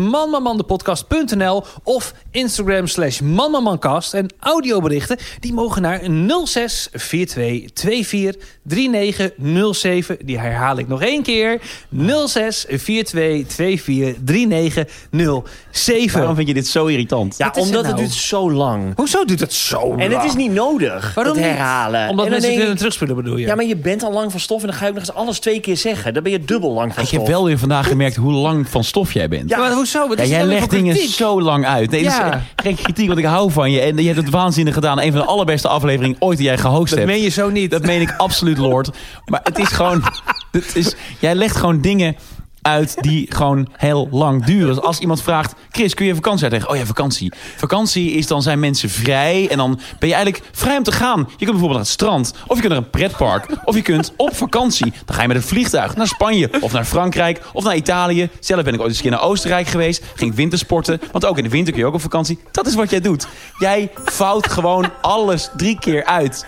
[SPEAKER 2] manmanmandepodcast.nl of Instagram slash manmanmancast. En audioberichten, die mogen naar 06 42 24 39 07. Die herhaal ik nog één keer. 06 42 24 39 07.
[SPEAKER 1] Waarom vind je dit zo irritant?
[SPEAKER 3] Ja,
[SPEAKER 2] Wat is
[SPEAKER 3] omdat
[SPEAKER 2] het
[SPEAKER 3] het
[SPEAKER 2] nou?
[SPEAKER 3] duurt zo lang.
[SPEAKER 2] Hoezo doet dat zo
[SPEAKER 3] En het is niet nodig.
[SPEAKER 2] Waarom
[SPEAKER 3] dat
[SPEAKER 2] niet?
[SPEAKER 3] herhalen. En
[SPEAKER 2] Omdat mensen
[SPEAKER 3] dan
[SPEAKER 2] het
[SPEAKER 3] denk
[SPEAKER 2] kunnen
[SPEAKER 3] ik,
[SPEAKER 2] terugspelen, bedoel je?
[SPEAKER 3] Ja, maar je bent al lang van stof en dan ga je ook nog eens alles twee keer zeggen. Dan ben je dubbel lang van
[SPEAKER 1] Ik heb
[SPEAKER 3] stof.
[SPEAKER 1] wel weer vandaag gemerkt hoe lang van stof jij bent.
[SPEAKER 2] Ja, maar hoezo? Wat
[SPEAKER 1] Ja,
[SPEAKER 2] is
[SPEAKER 1] jij
[SPEAKER 2] dit nou weer
[SPEAKER 1] legt
[SPEAKER 2] voor
[SPEAKER 1] dingen
[SPEAKER 2] kritiek?
[SPEAKER 1] zo lang uit. Nee, dat is
[SPEAKER 2] Ja.
[SPEAKER 1] geen kritiek, want ik hou van je. En je hebt het waanzinnig gedaan. Een van de allerbeste afleveringen ooit die jij gehost
[SPEAKER 2] Dat
[SPEAKER 1] hebt.
[SPEAKER 2] meen je zo niet.
[SPEAKER 1] Dat meen ik absoluut, Lord. Maar het is gewoon... Het is, jij legt gewoon dingen uit die gewoon heel lang duren. Dus als iemand vraagt, Chris, kun je vakantie uitleggen? Oh ja, vakantie. Vakantie is dan zijn mensen vrij en dan ben je eigenlijk vrij om te gaan. Je kunt bijvoorbeeld naar het strand, of je kunt naar een pretpark, of je kunt op vakantie. Dan ga je met een vliegtuig naar Spanje, of naar Frankrijk, of naar Italië. Zelf ben ik ooit eens een keer naar Oostenrijk geweest, ging ik wintersporten, want ook in de winter kun je ook op vakantie. Dat is wat jij doet. Jij fout gewoon alles drie keer uit.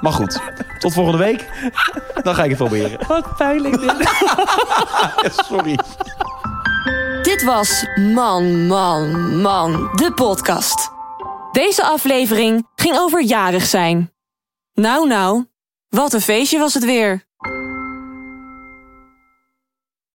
[SPEAKER 1] Maar goed, tot volgende week. Dan ga ik het proberen.
[SPEAKER 2] Wat pijnlijk dit.
[SPEAKER 1] Sorry.
[SPEAKER 4] Dit was Man, Man, Man, de podcast. Deze aflevering ging over jarig zijn. Nou, nou, wat een feestje was het weer.